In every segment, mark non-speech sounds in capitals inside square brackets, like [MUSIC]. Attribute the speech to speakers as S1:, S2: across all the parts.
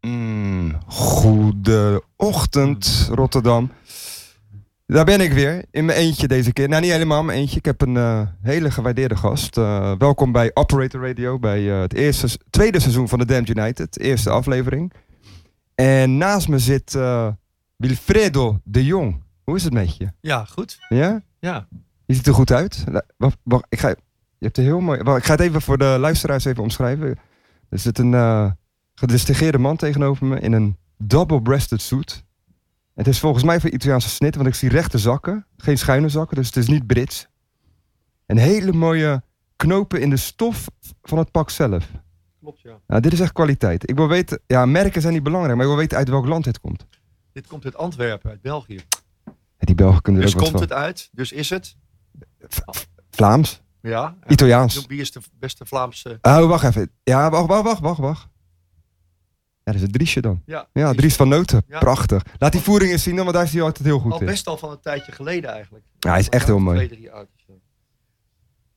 S1: Mm, Goedenochtend, Rotterdam. Daar ben ik weer, in mijn eentje deze keer. Nou, niet helemaal mijn eentje. Ik heb een eh, hele gewaardeerde gast. Eh, welkom bij Operator Radio, bij eh, het eerste, tweede seizoen van de Damned United. Eerste aflevering. En naast me zit eh Wilfredo de Jong. Hoe is het met je?
S2: Ja, goed.
S1: Ja?
S2: Ja.
S1: Je ziet er goed uit. La- Wacht, wacht, ik ga, je hebt er heel mooi... Wacht, ik ga het even voor de luisteraars even omschrijven. Er zit een eh gedistingeerde man tegenover me in een double-breasted suit. Het is volgens mij van Italiaanse snit, want ik zie rechte zakken. Geen schuine zakken, dus het is niet Brits. En hele mooie knopen in de stof van het pak zelf.
S2: Klopt, ja.
S1: Nou, dit is echt kwaliteit. Ik wil weten... Ja, merken zijn niet belangrijk, maar ik wil weten uit welk land dit komt.
S2: Dit komt uit Antwerpen, uit België.
S1: Ja, die Belgen kunnen er
S2: Dus
S1: ook wat
S2: komt
S1: van.
S2: het uit, dus is het.
S1: Vlaams?
S2: Ja. En
S1: Italiaans?
S2: Wie is de beste Vlaamse...
S1: Oh, wacht even. Ja, wacht, wacht, wacht, wacht, wacht. Ja, dat is het Driesje dan.
S2: Ja,
S1: Ja,
S2: precies.
S1: Dries van Noten.
S2: Ja.
S1: Prachtig. Laat die voering eens zien, dan, want daar is hij altijd heel goed
S2: Al
S1: in.
S2: best al van een tijdje geleden eigenlijk.
S1: Ja, hij is echt heel mooi.
S2: Twee, drie oudjes.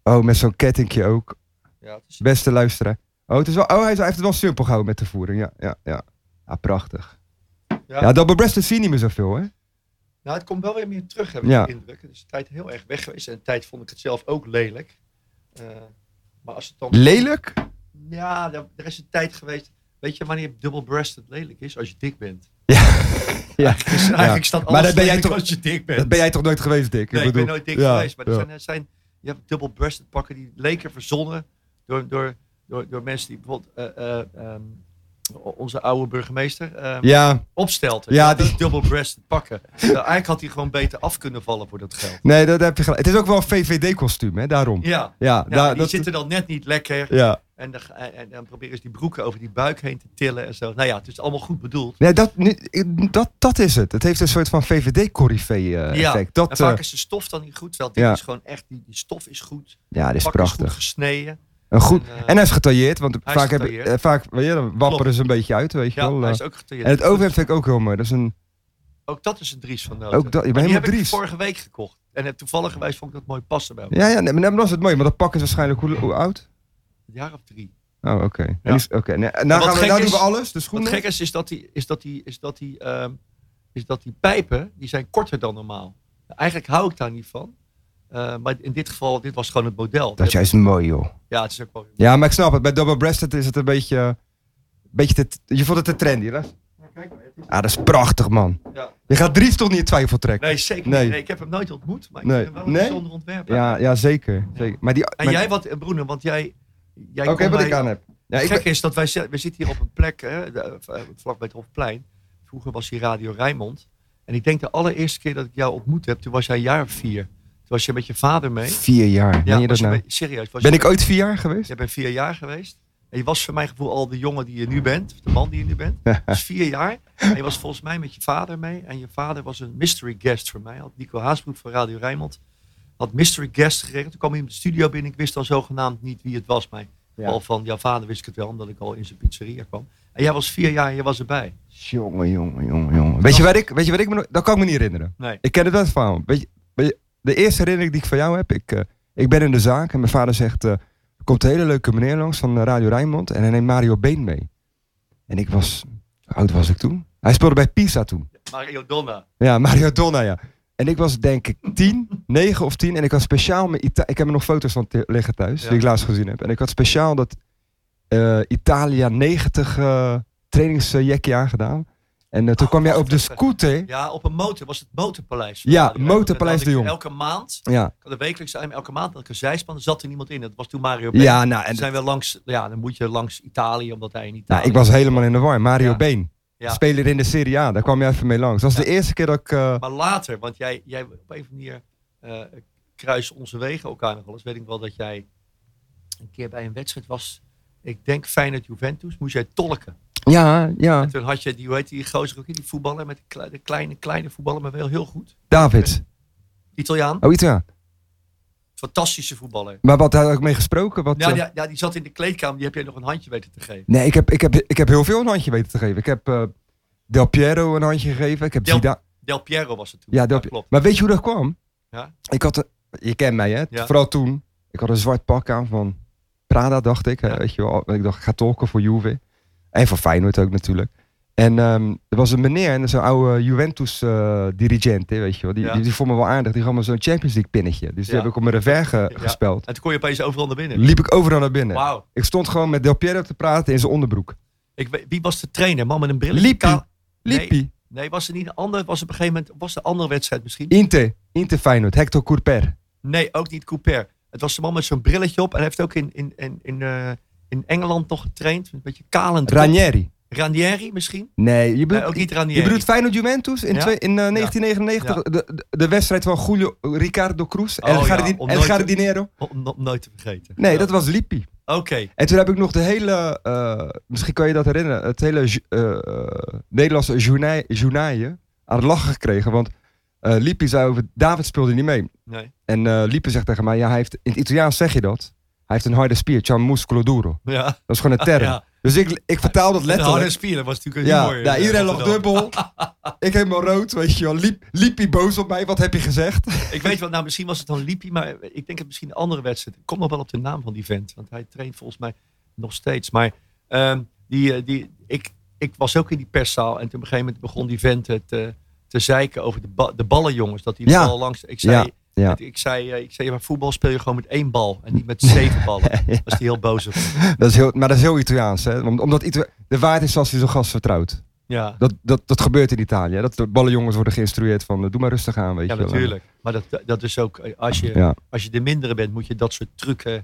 S1: Oh, met zo'n kettingje ook.
S2: Ja, het is-
S1: Beste luisteraar. Oh, het is wel, oh hij is- hij heeft het wel simpel gehouden met de voering. Ja, ja, ja. Ja, prachtig.
S2: ja.
S1: Ja, double breasted zie je niet meer zoveel, hè?
S2: Nou, het komt wel weer meer terug, heb ik
S1: Ja.
S2: de indruk. Het is de tijd heel erg weg geweest. En de tijd vond ik het zelf ook lelijk. Eh, maar als het dan...
S1: Lelijk?
S2: Ja, er er is een tijd geweest... Weet je wanneer double-breasted lelijk is? Als je dik
S1: [LAUGHS]
S2: bent.
S1: Ja.
S2: Dus eigenlijk staat alles
S1: Maar dat ben jij
S2: lelijk
S1: toch-
S2: als je dik bent.
S1: Dat ben jij toch nooit geweest, Dick?
S2: Nee, ik ben
S1: bedoel-
S2: nooit dik
S1: Ja,
S2: geweest. Maar er
S1: ja.
S2: zijn, er zijn je hebt double-breasted pakken die leken verzonnen door, door, door, door mensen die bijvoorbeeld eh, eh, ehm, o- onze oude burgemeester ehm
S1: Ja,
S2: opstelt.
S1: Ja,
S2: die
S1: die-
S2: double-breasted
S1: [LAUGHS]
S2: pakken. Nou, eigenlijk had hij gewoon beter af kunnen vallen voor dat geld.
S1: nee, dat heb je gelijk. Het is ook wel een VVD-kostuum, hè? Daarom. Ja,
S2: Ja, ja
S1: daar-
S2: die
S1: dat,
S2: zitten dan net niet lekker.
S1: ja.
S2: En, dan, en, en dan proberen ze die broeken over die buik heen te tillen en zo. Nou ja, het is allemaal goed bedoeld.
S1: Nee, dat, nu- ik- dat, dat is het. Het heeft een soort van
S2: Ja,
S1: VVD-corrivee-effect. dat
S2: en
S1: eh,
S2: vaak is de stof dan niet goed. Terwijl dit
S1: ja.
S2: is gewoon echt, die, die stof is goed.
S1: ja, dat is
S2: pak is
S1: prachtig.
S2: goed gesneden.
S1: een goed,
S2: En,
S1: en,
S2: eh,
S1: hij is getailleerd, want
S2: hij is
S1: vaak, heb,
S2: getailleerd.
S1: eh, vaak weet je, dan wapperen
S2: Klopt.
S1: ze een beetje uit, weet je
S2: Ja,
S1: wel.
S2: hij
S1: eh.
S2: is ook getatoeëerd.
S1: en het
S2: Goed.
S1: overhemd vind ik ook heel mooi. Dat is een,
S2: Ook dat is een Dries van Noten.
S1: Ook dat- je bent
S2: Maar die
S1: helemaal
S2: heb ik
S1: Dries.
S2: vorige week gekocht. En heb toevallig geweest vond ik dat mooi passen bij elkaar.
S1: ja, ja, nee, maar dat is het mooi, want dat pak is waarschijnlijk hoe, hoe oud?
S2: Een jaar of drie.
S1: Oh, oké. En
S2: Ja.
S1: die is- Oké. nee, en nou
S2: wat
S1: gaan we,
S2: gek
S1: nou
S2: is-
S1: doen we alles, de
S2: Wat
S1: schoenen.
S2: gek is, is dat die, is dat die, is dat die, ehm, is dat die pijpen, die zijn korter dan normaal. Eigenlijk hou ik daar niet van. Eh, maar in dit geval, dit was gewoon het model.
S1: Dat is juist mooi, joh.
S2: Ja, het is ook wel...
S1: Ja, maar ik snap het. Bij double-breasted is het een beetje... eh, beetje te, je vond het te trendy, hè?
S2: Kijk maar, het is-
S1: Ah, dat is prachtig, man.
S2: Ja.
S1: Je gaat Dries toch niet in twijfel trekken?
S2: Nee, zeker
S1: Nee.
S2: niet. Nee, ik heb hem nooit ontmoet, maar ik
S1: Nee.
S2: vind hem wel een
S1: Nee?
S2: bijzonder ontwerp.
S1: Ja, ja zeker. zeker. Maar die,
S2: En
S1: maar-
S2: jij wat, eh, Broene, want jij... jij
S1: Oké,
S2: kon
S1: wat
S2: mij-
S1: ik aan heb. Ja, ik
S2: Het gek is dat wij zi- we zitten hier op een plek, hè, de- eh, vlakbij het Hofplein. Vroeger was hier Radio Rijnmond. En ik denk de allereerste keer dat ik jou ontmoet heb, toen was jij een jaar of vier. Toen was je met je vader mee.
S1: ben vier jaar. Meen je
S2: was
S1: dat nou?
S2: mee- serieus. Was
S1: Ben
S2: je,
S1: ik ooit vier jaar geweest?
S2: jij bent vier jaar geweest. En je was voor mijn gevoel al de jongen die je nu bent. Of de man die je nu
S1: [LAUGHS]
S2: bent. Dus vier jaar. En je was volgens mij met je vader mee. En je vader was een mystery guest voor mij. Had Nico Haasbroek van Radio Rijnmond. Had mystery guest geregeld. Toen kwam hij in de studio binnen. Ik wist dan zogenaamd niet wie het was. Maar
S1: Ja.
S2: al van jouw vader wist ik het wel. Omdat ik al in zijn pizzeria kwam. En jij was vier jaar en je was erbij.
S1: Jongen, jongen, jongen, jongen. Weet je waar ik, weet je waar ik me, nog- dat kan ik me niet herinneren.
S2: Nee.
S1: Ik ken het wel het verhaal. Weet je, weet je, de eerste herinnering die ik van jou heb, ik, eh, ik ben in de zaak en mijn vader zegt, eh, er komt een hele leuke meneer langs van eh, Radio Rijnmond en hij neemt Mario Been mee. En ik was, hoe oud was ik toen? Hij speelde bij Pisa toen.
S2: Mario Donna.
S1: Ja, [LAUGHS] Mario Donna, ja. En ik was denk ik tien, negen of tien. En ik had speciaal mijn Ita- Ik heb er nog foto's van te- liggen thuis,
S2: Ja.
S1: die ik laatst gezien heb. En ik had speciaal dat eh, Italia 90 eh trainingsjekje aangedaan. En eh, toen
S2: Oh,
S1: kwam jij
S2: wacht
S1: op de
S2: even.
S1: scooter.
S2: Ja, op een motor. Was het Motorpaleis. van
S1: Ja,
S2: Radio Rijnmond.
S1: Motorpaleis
S2: En dan
S1: de
S2: had ik
S1: Jong.
S2: Elke maand.
S1: Ja,
S2: Ik had een wekelijkse item. Elke maand had ik een zijspan. Er zat er niemand in. Dat was toen Mario Been.
S1: ja nou, en,
S2: Dan zijn we langs, ja, dan moet je langs Italië, omdat hij in Italië...
S1: nou, ik was helemaal in de war. Mario
S2: Ja.
S1: Been,
S2: Ja.
S1: speler in de Serie A. Daar kwam jij even mee langs. Dat was de eerste keer dat ik... eh,
S2: Maar later, want jij, jij op een of andere manier eh, kruisen onze wegen elkaar nog wel eens. Weet ik wel dat jij een keer bij een wedstrijd was, ik denk Feyenoord Juventus, moest jij tolken.
S1: ja, ja,
S2: En toen had je die, hoe heet die gozer ook, die voetballer, met de, kle- de kleine, kleine voetballer, maar wel heel goed.
S1: David.
S2: Italiaan,
S1: Oh, Italiaan.
S2: fantastische voetballer.
S1: Maar wat had ik mee gesproken? Wat,
S2: Ja,
S1: eh,
S2: ja, ja, die zat in de kleedkamer, die heb jij nog een handje weten te geven.
S1: Nee, ik heb, ik, heb, ik heb heel veel een handje weten te geven. Ik heb eh, Del Piero een handje gegeven. Ik heb
S2: Del-
S1: Zidane.
S2: Del Piero was het toen.
S1: Ja, Del Piero.
S2: klopt.
S1: Maar weet je hoe dat kwam?
S2: Ja.
S1: Ik had een- je kent mij, hè?
S2: Ja.
S1: Vooral toen. Ik had een zwart pak aan van Prada, dacht ik. hè,
S2: Ja.
S1: Weet je wel. Ik dacht, ik ga tolken voor Juve. En van Feyenoord ook natuurlijk. En ehm, er was een meneer, en zo'n oude Juventus-dirigent, weet je wel. Die,
S2: Ja.
S1: die, die vond me wel aardig. Die gaf me zo'n Champions League pinnetje. Dus die
S2: Ja.
S1: heb ik op mijn revers ge-
S2: Ja.
S1: gespeld.
S2: En toen kon je opeens overal naar binnen.
S1: Liep ik overal naar binnen.
S2: Wauw.
S1: Ik stond gewoon met Del Piero te praten in zijn onderbroek.
S2: Ik weet- Wie was de trainer? Man met een bril.
S1: Lippi.
S2: Kaal- Nee.
S1: Liep hij.
S2: Nee, was het niet een ander? Was het op een gegeven moment was de andere wedstrijd misschien?
S1: Inter. Inter Feyenoord. Hector Courper.
S2: Nee, ook niet Couper. Het was de man met zo'n brilletje op. En hij heeft ook in, in, in, in, eh, in Engeland nog getraind. Een beetje kalend.
S1: Ranieri.
S2: Ranieri misschien?
S1: Nee, je
S2: Nee,
S1: bedoelt,
S2: ook niet
S1: je
S2: Ranieri.
S1: bedoelt Feyenoord Juventus in,
S2: Ja.
S1: twee- in eh, 1999. De, de, de wedstrijd van Julio Ricardo Cruz.
S2: Oh,
S1: El,
S2: ja,
S1: Gardin-
S2: om
S1: El
S2: nooit te-
S1: Gardinero.
S2: Om, om nooit te vergeten.
S1: Nee,
S2: Ja.
S1: dat was Lippi.
S2: Oké.
S1: En toen heb ik nog de hele, eh, misschien kan je dat herinneren, het hele ju- eh, eh, Nederlandse journai- journaaien aan het lachen gekregen. Want eh Lippi zei over, David speelde niet mee.
S2: Nee.
S1: En eh Lippi zegt tegen mij, ja, hij heeft, in het Italiaans zeg je dat, hij heeft een harde spier, c'ha un muscolo duro.
S2: Ja.
S1: Dat is gewoon
S2: [LAUGHS]
S1: een term.
S2: Ja.
S1: Dus ik, ik vertaal dat
S2: De harde
S1: letterlijk.
S2: spieren was natuurlijk een
S1: Ja,
S2: humor,
S1: nou,
S2: eh,
S1: iedereen lag
S2: Rotterdam. [LAUGHS]
S1: dubbel. ik helemaal rood, weet je wel. Liep, Lippi boos op mij, wat heb je gezegd?
S2: Ik weet wel, nou misschien was het dan Lippi, maar ik denk het misschien een andere wedstrijd. Ik kom nog wel op de naam van die vent, want hij traint volgens mij nog steeds. Maar ehm, die, eh, die, ik, ik was ook in die perszaal en toen op een gegeven moment begon die vent het eh, te zeiken over de, ba- de ballenjongens. Dat die
S1: Ja.
S2: bal langs... Ik zei,
S1: Ja, ja.
S2: het- Ik, zei, eh, ik zei, maar voetbal speel je gewoon met één bal en niet met
S1: [LAUGHS]
S2: zeven ballen. Dat was die heel boos op.
S1: Dat is heel, maar dat is heel Italiaans, hè. Om- Omdat Ita- de waard is als hij zo'n gast vertrouwt.
S2: Ja,
S1: Dat, dat, dat gebeurt in Italië. hè. Dat de ballenjongens worden geïnstrueerd van eh, doe maar rustig aan, weet
S2: ja
S1: je wel.
S2: natuurlijk. Maar dat, dat is ook, eh, als je,
S1: Ja.
S2: als je de mindere bent, moet je dat soort trucken...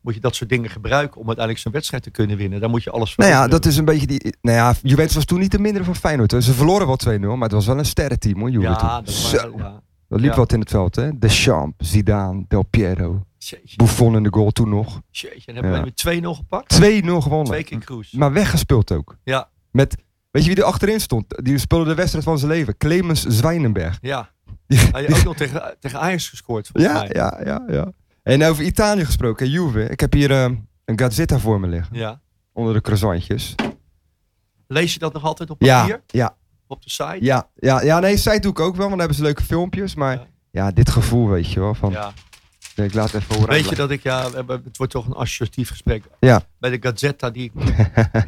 S2: Moet je dat soort dingen gebruiken om uiteindelijk zo'n wedstrijd te kunnen winnen? Daar moet je alles voor
S1: Nou
S2: doen.
S1: ja, dat is een beetje die... Nou ja, Juventus was toen niet de mindere van Feyenoord. Hoor. Ze verloren wel 2-0, maar het was wel een sterrenteam hoor, Juve toen.
S2: Ja, dat
S1: Zo,
S2: waren, ja.
S1: dat liep
S2: ja.
S1: wat in het veld hè. Deschamps, Zidane, Del Piero,
S2: Jeetje,
S1: Buffon in de goal toen nog. 2-0
S2: jeetje. En hebben
S1: Ja.
S2: we met 2-0 gepakt?
S1: gewonnen.
S2: Twee keer Kroes.
S1: Maar weggespeeld ook.
S2: Ja.
S1: Met, weet je wie er achterin stond? Die speelde de wedstrijd van zijn leven. Clemens Zwijnenberg.
S2: Ja.
S1: Die-
S2: Hij had ook nog tegen, tegen Ajax gescoord, volgens
S1: Ja,
S2: mij.
S1: ja, ja, ja. En over Italië gesproken, Juve. Ik heb hier eh, een Gazzetta voor me liggen.
S2: Ja.
S1: Onder de croissantjes.
S2: Lees je dat nog altijd op papier?
S1: Ja, ja,
S2: Op de site?
S1: ja, ja, ja, nee, zij doe ik ook wel, want dan hebben ze leuke filmpjes. Maar
S2: Ja.
S1: ja, dit gevoel, weet je wel. Van,
S2: Ja.
S1: Ik laat even horen.
S2: Weet je dat ik, ja, we hebben- het wordt toch een associatief gesprek.
S1: Ja.
S2: Bij de
S1: [LAUGHS]
S2: Gazzetta, die ik,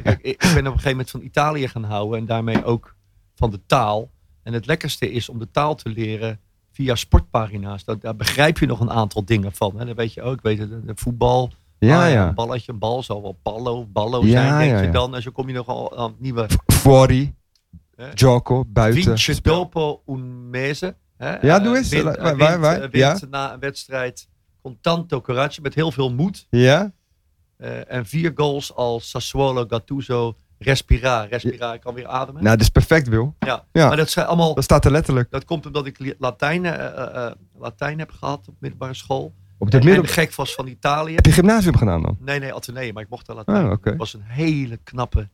S2: ik, ik ben op een gegeven moment van Italië gaan houden en daarmee ook van de taal. En het lekkerste is om de taal te leren via sportpagina's. Dat, daar begrijp je nog een aantal dingen van. Hè. Dan weet je ook, weet je, de- de voetbal,
S1: Ja,
S2: Ah, Een
S1: ja.
S2: balletje, een bal zal wel ballo, ballo
S1: Ja,
S2: zijn, denk
S1: ja,
S2: je
S1: ja.
S2: dan. En zo kom je nogal aan nieuwe
S1: Fuori,
S2: Hè?
S1: Joko, buiten.
S2: Vince dopo un mese. Hè?
S1: Ja,
S2: Eh,
S1: doe eens.
S2: Wint,
S1: Waar-
S2: eh,
S1: waar-
S2: wint,
S1: waar?
S2: eh,
S1: Ja.
S2: wint na een wedstrijd contanto coraggio met heel veel moed.
S1: Ja?
S2: Eh, en vier goals als Sassuolo, Gattuso, Respira. Respira, ik kan weer ademen.
S1: Nou, dat is perfect, Wil.
S2: ja.
S1: ja.
S2: Maar dat zijn allemaal...
S1: Dat staat er letterlijk.
S2: Dat komt omdat ik li- Latijn, eh, eh, eh, Latijn heb gehad op middelbare school.
S1: Op
S2: En,
S1: dit middel...
S2: en gek was van Italië.
S1: Heb je gymnasium gedaan dan?
S2: Nee, nee, Atheneum, maar ik mocht daar Latijn.
S1: Oh, oké.
S2: Het was een hele
S1: [LAUGHS]
S2: knappe.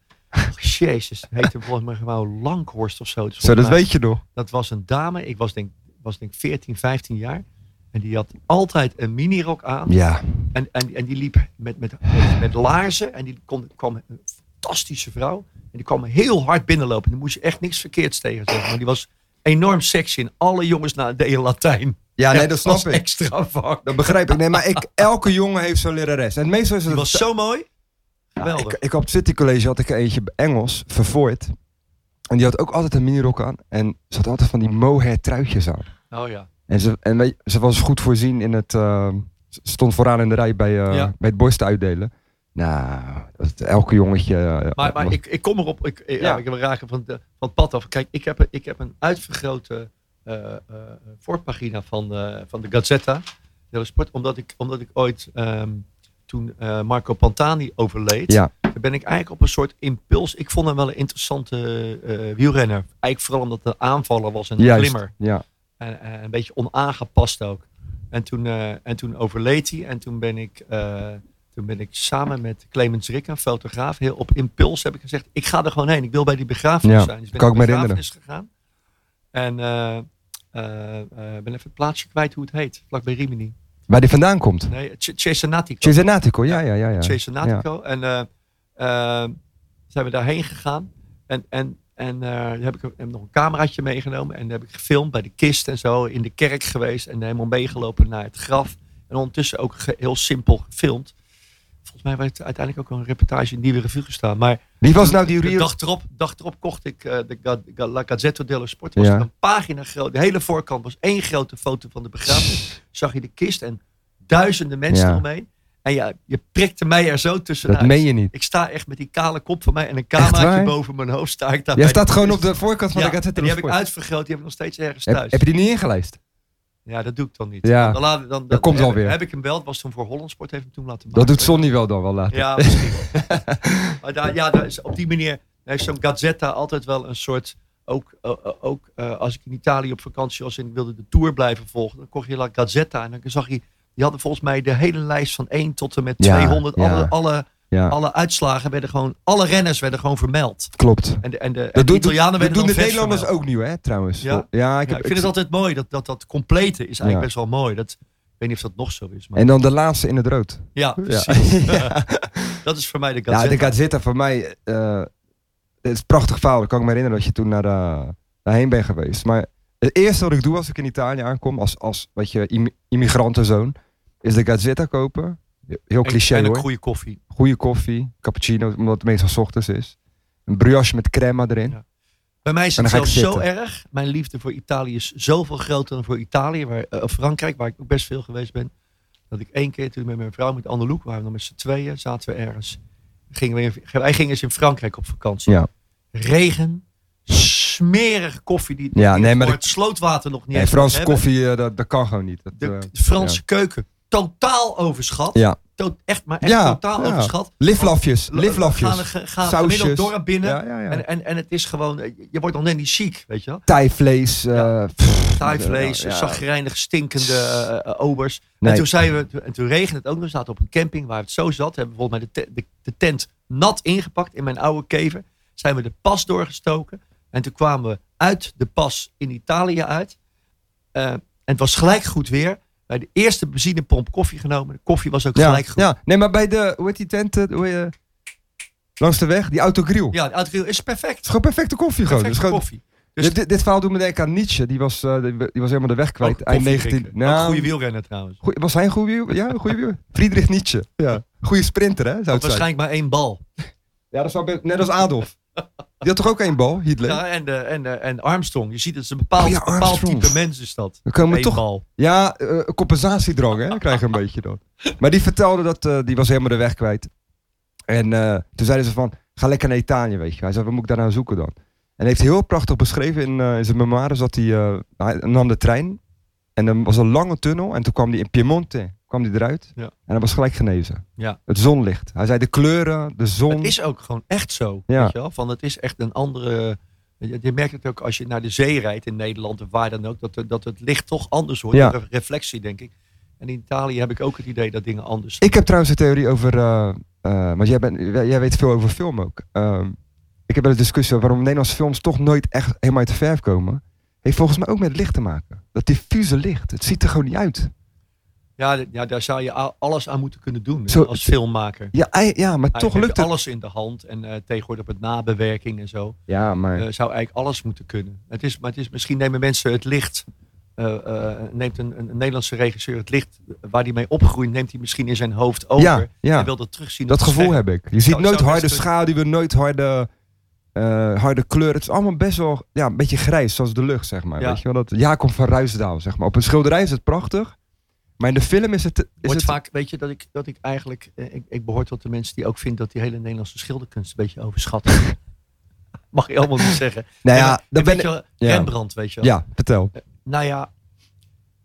S2: Jezus, heette hem volgens mij gewoon Langhorst of zo. Dus
S1: Zo,
S2: volgens
S1: dat
S2: mij-
S1: weet je nog.
S2: dat was een dame, ik was denk, was denk 14, 15 jaar. En die had altijd een minirok aan.
S1: Ja.
S2: En, en, en die liep met, met, met, met laarzen. En die kon, kwam een fantastische vrouw. En die kwam heel hard binnenlopen. Daar moest je echt niks verkeerds tegen zeggen. Maar die was enorm sexy. En alle jongens na, deden Latijn.
S1: Ja, nee,
S2: Ja,
S1: dat snap
S2: als
S1: ik.
S2: extra vak.
S1: Dat begrijp ik. Nee, maar ik, elke jongen heeft zo'n lerares. En meestal is
S2: Die
S1: het...
S2: was zo mooi.
S1: ik,
S2: Geweldig.
S1: ik op het City College had ik er eentje Engels, vervoerd. En die had ook altijd een minirok aan. En ze had altijd van die mohair truitjes aan.
S2: Oh ja.
S1: En ze, en weet je, ze was goed voorzien in het. eh, ze stond vooraan in de rij bij, eh,
S2: Ja.
S1: bij het borsten uitdelen. Nou, dat, elke jongetje. eh,
S2: Maar, maar
S1: was-
S2: ik, ik kom erop. Ik, ik,
S1: Ja.
S2: ja. ik heb een raken van, de, van het pad af. Kijk, ik heb, ik heb een uitvergrote eh, eh, voorpagina van, eh, van de Gazzetta. De sport, omdat, ik, omdat ik ooit, ehm, toen eh, Marco Pantani overleed,
S1: Ja.
S2: toen ben ik eigenlijk op een soort impuls. Ik vond hem wel een interessante eh, wielrenner. Eigenlijk vooral omdat de aanvaller was en een
S1: Juist,
S2: glimmer.
S1: Ja.
S2: En, en een beetje onaangepast ook. En toen, eh, en toen overleed hij. En toen ben ik, eh, toen ben ik samen met Clemens Rick, een fotograaf, heel op impuls heb ik gezegd: ik ga er gewoon heen. Ik wil bij die begrafenis
S1: Ja,
S2: zijn. Dus ben
S1: kan
S2: ik
S1: ik me
S2: begrafenis gegaan. En eh, eh, eh, ben even het plaatsje kwijt hoe het heet. Vlakbij Rimini.
S1: Waar die vandaan komt.
S2: Nee, Ch- Cesenatico.
S1: Cesenatico, ja, ja, ja. ja.
S2: Cesenatico. En eh, eh, zijn we daarheen gegaan. En, en, en eh, daar heb ik heb ik nog een cameraatje meegenomen. En daar heb ik gefilmd bij de kist en zo. In de kerk geweest. En helemaal meegelopen naar het graf. En ondertussen ook ge- heel simpel gefilmd. volgens mij werd uiteindelijk ook een reportage in Nieuwe Revue gestaan. Maar
S1: Wie was nou die
S2: de
S1: Rio?
S2: dag erop, dag erop kocht ik eh, de Ga- Ga- La Gazzetta dello Sport. Was
S1: Ja.
S2: er een pagina groot. De hele voorkant was één grote foto van de begrafenis. Zag je de kist en duizenden mensen
S1: Ja.
S2: eromheen. En ja, je prikte mij er zo
S1: Dat
S2: tussenuit.
S1: meen je niet.
S2: Ik sta echt met die kale kop van mij en een
S1: waar?
S2: cameraatje boven mijn hoofd sta ik daar.
S1: Jij
S2: bij
S1: staat
S2: die
S1: gewoon op
S2: kist.
S1: de voorkant van
S2: Ja,
S1: de Gazette
S2: en die
S1: dello
S2: heb
S1: Sport.
S2: ik uitvergroot, die heb ik nog steeds ergens
S1: Heb,
S2: thuis.
S1: heb je die niet ingelijst?
S2: Ja, dat doe ik dan niet.
S1: Ja.
S2: Dan, laat- dan, dan,
S1: Dat komt
S2: heb,
S1: alweer.
S2: Heb ik hem wel, het was toen voor Holland Sport, heeft hem toen laten maken.
S1: Dat doet Sonny wel dan wel later. [LAUGHS]
S2: Ja, misschien. maar daar, ja, daar is, op die manier heeft zo'n Gazzetta altijd wel een soort. Ook, eh, eh, ook eh, als ik in Italië op vakantie was en ik wilde de tour blijven volgen, dan kocht je La Gazzetta en dan zag je. Die hadden volgens mij de hele lijst van 1 tot en met
S1: Ja,
S2: 200.
S1: ja.
S2: Alle, alle,
S1: Ja,
S2: alle uitslagen werden gewoon. Alle renners werden gewoon vermeld.
S1: klopt.
S2: En de, en de, en
S1: Dat
S2: de
S1: doen,
S2: Italianen
S1: dat
S2: werden
S1: doen de
S2: dan vers
S1: Nederlanders
S2: vermeld.
S1: ook nieuw, hè, trouwens.
S2: Ja?
S1: ja ik
S2: Ja,
S1: heb,
S2: ik vind het altijd mooi dat dat, dat complete is eigenlijk
S1: Ja.
S2: best wel mooi. Dat, ik weet niet of dat nog zo is. Maar
S1: En dan de laatste in het rood.
S2: ja,
S1: Ja. [LAUGHS]
S2: Oh, precies. dat is voor mij de
S1: Ja,
S2: Gazzetta.
S1: de Gazzetta voor mij. eh, het is een prachtig verhaal. Ik kan me herinneren dat je toen naar de, daarheen bent geweest. Maar het eerste wat ik doe als ik in Italië aankom, als, als wat je, im- immigrantenzoon, is de Gazzetta kopen. Heel
S2: En-
S1: cliché
S2: en een
S1: hoor.
S2: goede koffie.
S1: Goede koffie, cappuccino, omdat het meestal 's ochtends is. Een brioche met crema erin.
S2: Ja. Bij mij is
S1: En
S2: het
S1: dan ga ik
S2: zelfs zo erg. Mijn liefde voor Italië is zoveel groter dan voor Italië, waar, eh, of Frankrijk, waar ik ook best veel geweest ben. Dat ik één keer toen met mijn vrouw, met Anneloek, waren we nog met z'n tweeën, zaten we ergens. Gingen we in- wij gingen eens in Frankrijk op vakantie.
S1: Ja.
S2: Regen, smerige koffie die,
S1: Ja,
S2: die
S1: nee,
S2: we
S1: maar
S2: voor
S1: dat-
S2: het slootwater nog niet
S1: Nee,
S2: eens
S1: Franse
S2: hebben.
S1: koffie, eh, dat, dat kan gewoon niet. Dat,
S2: De,
S1: eh,
S2: de Franse keuken totaal overschat.
S1: Ja.
S2: To- echt, maar echt
S1: Ja,
S2: totaal
S1: ja.
S2: overschat.
S1: Liflafjes,
S2: La-
S1: liflafjes.
S2: Gaan, ge- gaan
S1: Sausjes.
S2: gemiddeld dorp binnen.
S1: Ja, ja, ja.
S2: En, en, en het is gewoon, eh, je wordt dan net niet ziek, weet je wel.
S1: Thaivlees. eh,
S2: Ja.
S1: pff,
S2: Thaivlees,
S1: ja, ja.
S2: zagrijnig, stinkende eh, eh, obers.
S1: Nee.
S2: En toen zijn we, en toen regende het ook nog. We zaten op een camping waar het zo zat. Hebben we volgens mij de, te- de, de tent nat ingepakt in mijn oude kever. Zijn we de pas doorgestoken. En toen kwamen we uit de pas in Italië uit. Eh, en het was gelijk goed weer. Bij de eerste benzinepomp koffie genomen. De koffie was ook
S1: Ja,
S2: gelijk goed.
S1: ja, nee, maar bij de, hoe heet die tent? eh, Hoe, heet, eh, langs de weg, die autogrill. Het
S2: Ja, de autogrill is perfect.
S1: is gewoon perfecte koffie gewoon. Het
S2: Perfecte
S1: is gewoon
S2: koffie. Dus-
S1: dit, dit- dit verhaal doet me denken aan Nietzsche. Die was, eh, die, die was helemaal de weg kwijt.
S2: Ook
S1: Eind
S2: koffie
S1: 19...
S2: drinken. Ook
S1: Nou,
S2: goede wielrenner trouwens.
S1: goeie- was hij een goede wiel? Ja, een goede wiel. Friedrich Nietzsche. Ja. Goede sprinter, hè? Zou het zijn.
S2: Waarschijnlijk maar één bal.
S1: Ja, dat zou best- net als Adolf. Die had toch ook één bal, Hitler?
S2: Ja, en, de, en, de, en Armstrong. Je ziet het is een bepaald,
S1: Oh ja,
S2: bepaald
S1: Armstrong.
S2: type mens is dat.
S1: We komen
S2: Eén
S1: toch
S2: bal.
S1: Ja, eh, compensatiedrang, hè? Krijg je een beetje dan. Maar die vertelde dat, eh, die was helemaal de weg kwijt. En eh, toen zeiden ze van, ga lekker naar Italië, weet je. Hij zei, wat moet ik daar nou zoeken dan? En hij heeft heel prachtig beschreven in, eh, in zijn memoires dat hij, eh, hij nam de trein. En dan was een lange tunnel en toen kwam hij in Piemonte, kwam hij eruit.
S2: Ja.
S1: En hij was gelijk genezen.
S2: Ja.
S1: Het zonlicht. Hij zei, de kleuren, de zon.
S2: Het is ook gewoon echt zo.
S1: Ja.
S2: Weet je wel? Van, het is echt een andere... eh, Je je merkt het ook als je naar de zee rijdt in Nederland of waar dan ook. Dat, het- dat het licht toch anders wordt.
S1: Ja.
S2: De reflectie, denk ik. En in Italië heb ik ook het idee dat dingen anders zijn.
S1: Ik heb trouwens een theorie over. eh, eh, want jij, bent, jij weet veel over film ook. Ehm, ik heb wel eens discussie over waarom Nederlandse films toch nooit echt helemaal uit de verf komen. Heeft volgens mij ook met licht te maken. Dat diffuse licht. Het ziet er gewoon niet uit.
S2: Ja, d- ja, daar zou je a- alles aan moeten kunnen doen
S1: Zo-
S2: als filmmaker.
S1: Ja, ei- ja maar toch
S2: Eigenlijk
S1: lukt het.
S2: heb je alles in de hand. En eh, tegenwoordig met nabewerking en zo.
S1: Ja, maar.
S2: eh, zou eigenlijk alles moeten kunnen. Het is, maar het is, misschien nemen mensen het licht. eh, eh, neemt een, een Nederlandse regisseur het licht waar hij mee opgroeit, neemt hij misschien in zijn hoofd over.
S1: ja, ja.
S2: En wil dat terugzien. op
S1: Dat
S2: het
S1: gevoel
S2: scherm.
S1: heb ik. Je ziet
S2: Zou-
S1: nooit
S2: zou best
S1: harde
S2: kunnen.
S1: schaduwen, nooit harde, eh, harde kleuren. Het is allemaal best wel ja, een beetje grijs, zoals de lucht, zeg maar.
S2: Ja.
S1: Weet je wel? Dat Jacob van Ruisdaal, zeg maar. Op een schilderij is het prachtig. Maar in de film is het. Is
S2: Wordt
S1: het
S2: vaak, weet je, dat ik, dat ik eigenlijk. eh, ik, ik behoor tot de mensen die ook vinden dat die hele Nederlandse schilderkunst een beetje overschat [LAUGHS] is. Mag je helemaal niet zeggen.
S1: nou
S2: En-
S1: ja,
S2: en
S1: dan
S2: weet
S1: ben
S2: je
S1: ik.
S2: wel,
S1: ja.
S2: Rembrandt, weet je wel.
S1: Ja, vertel. [LAUGHS]
S2: Nou ja,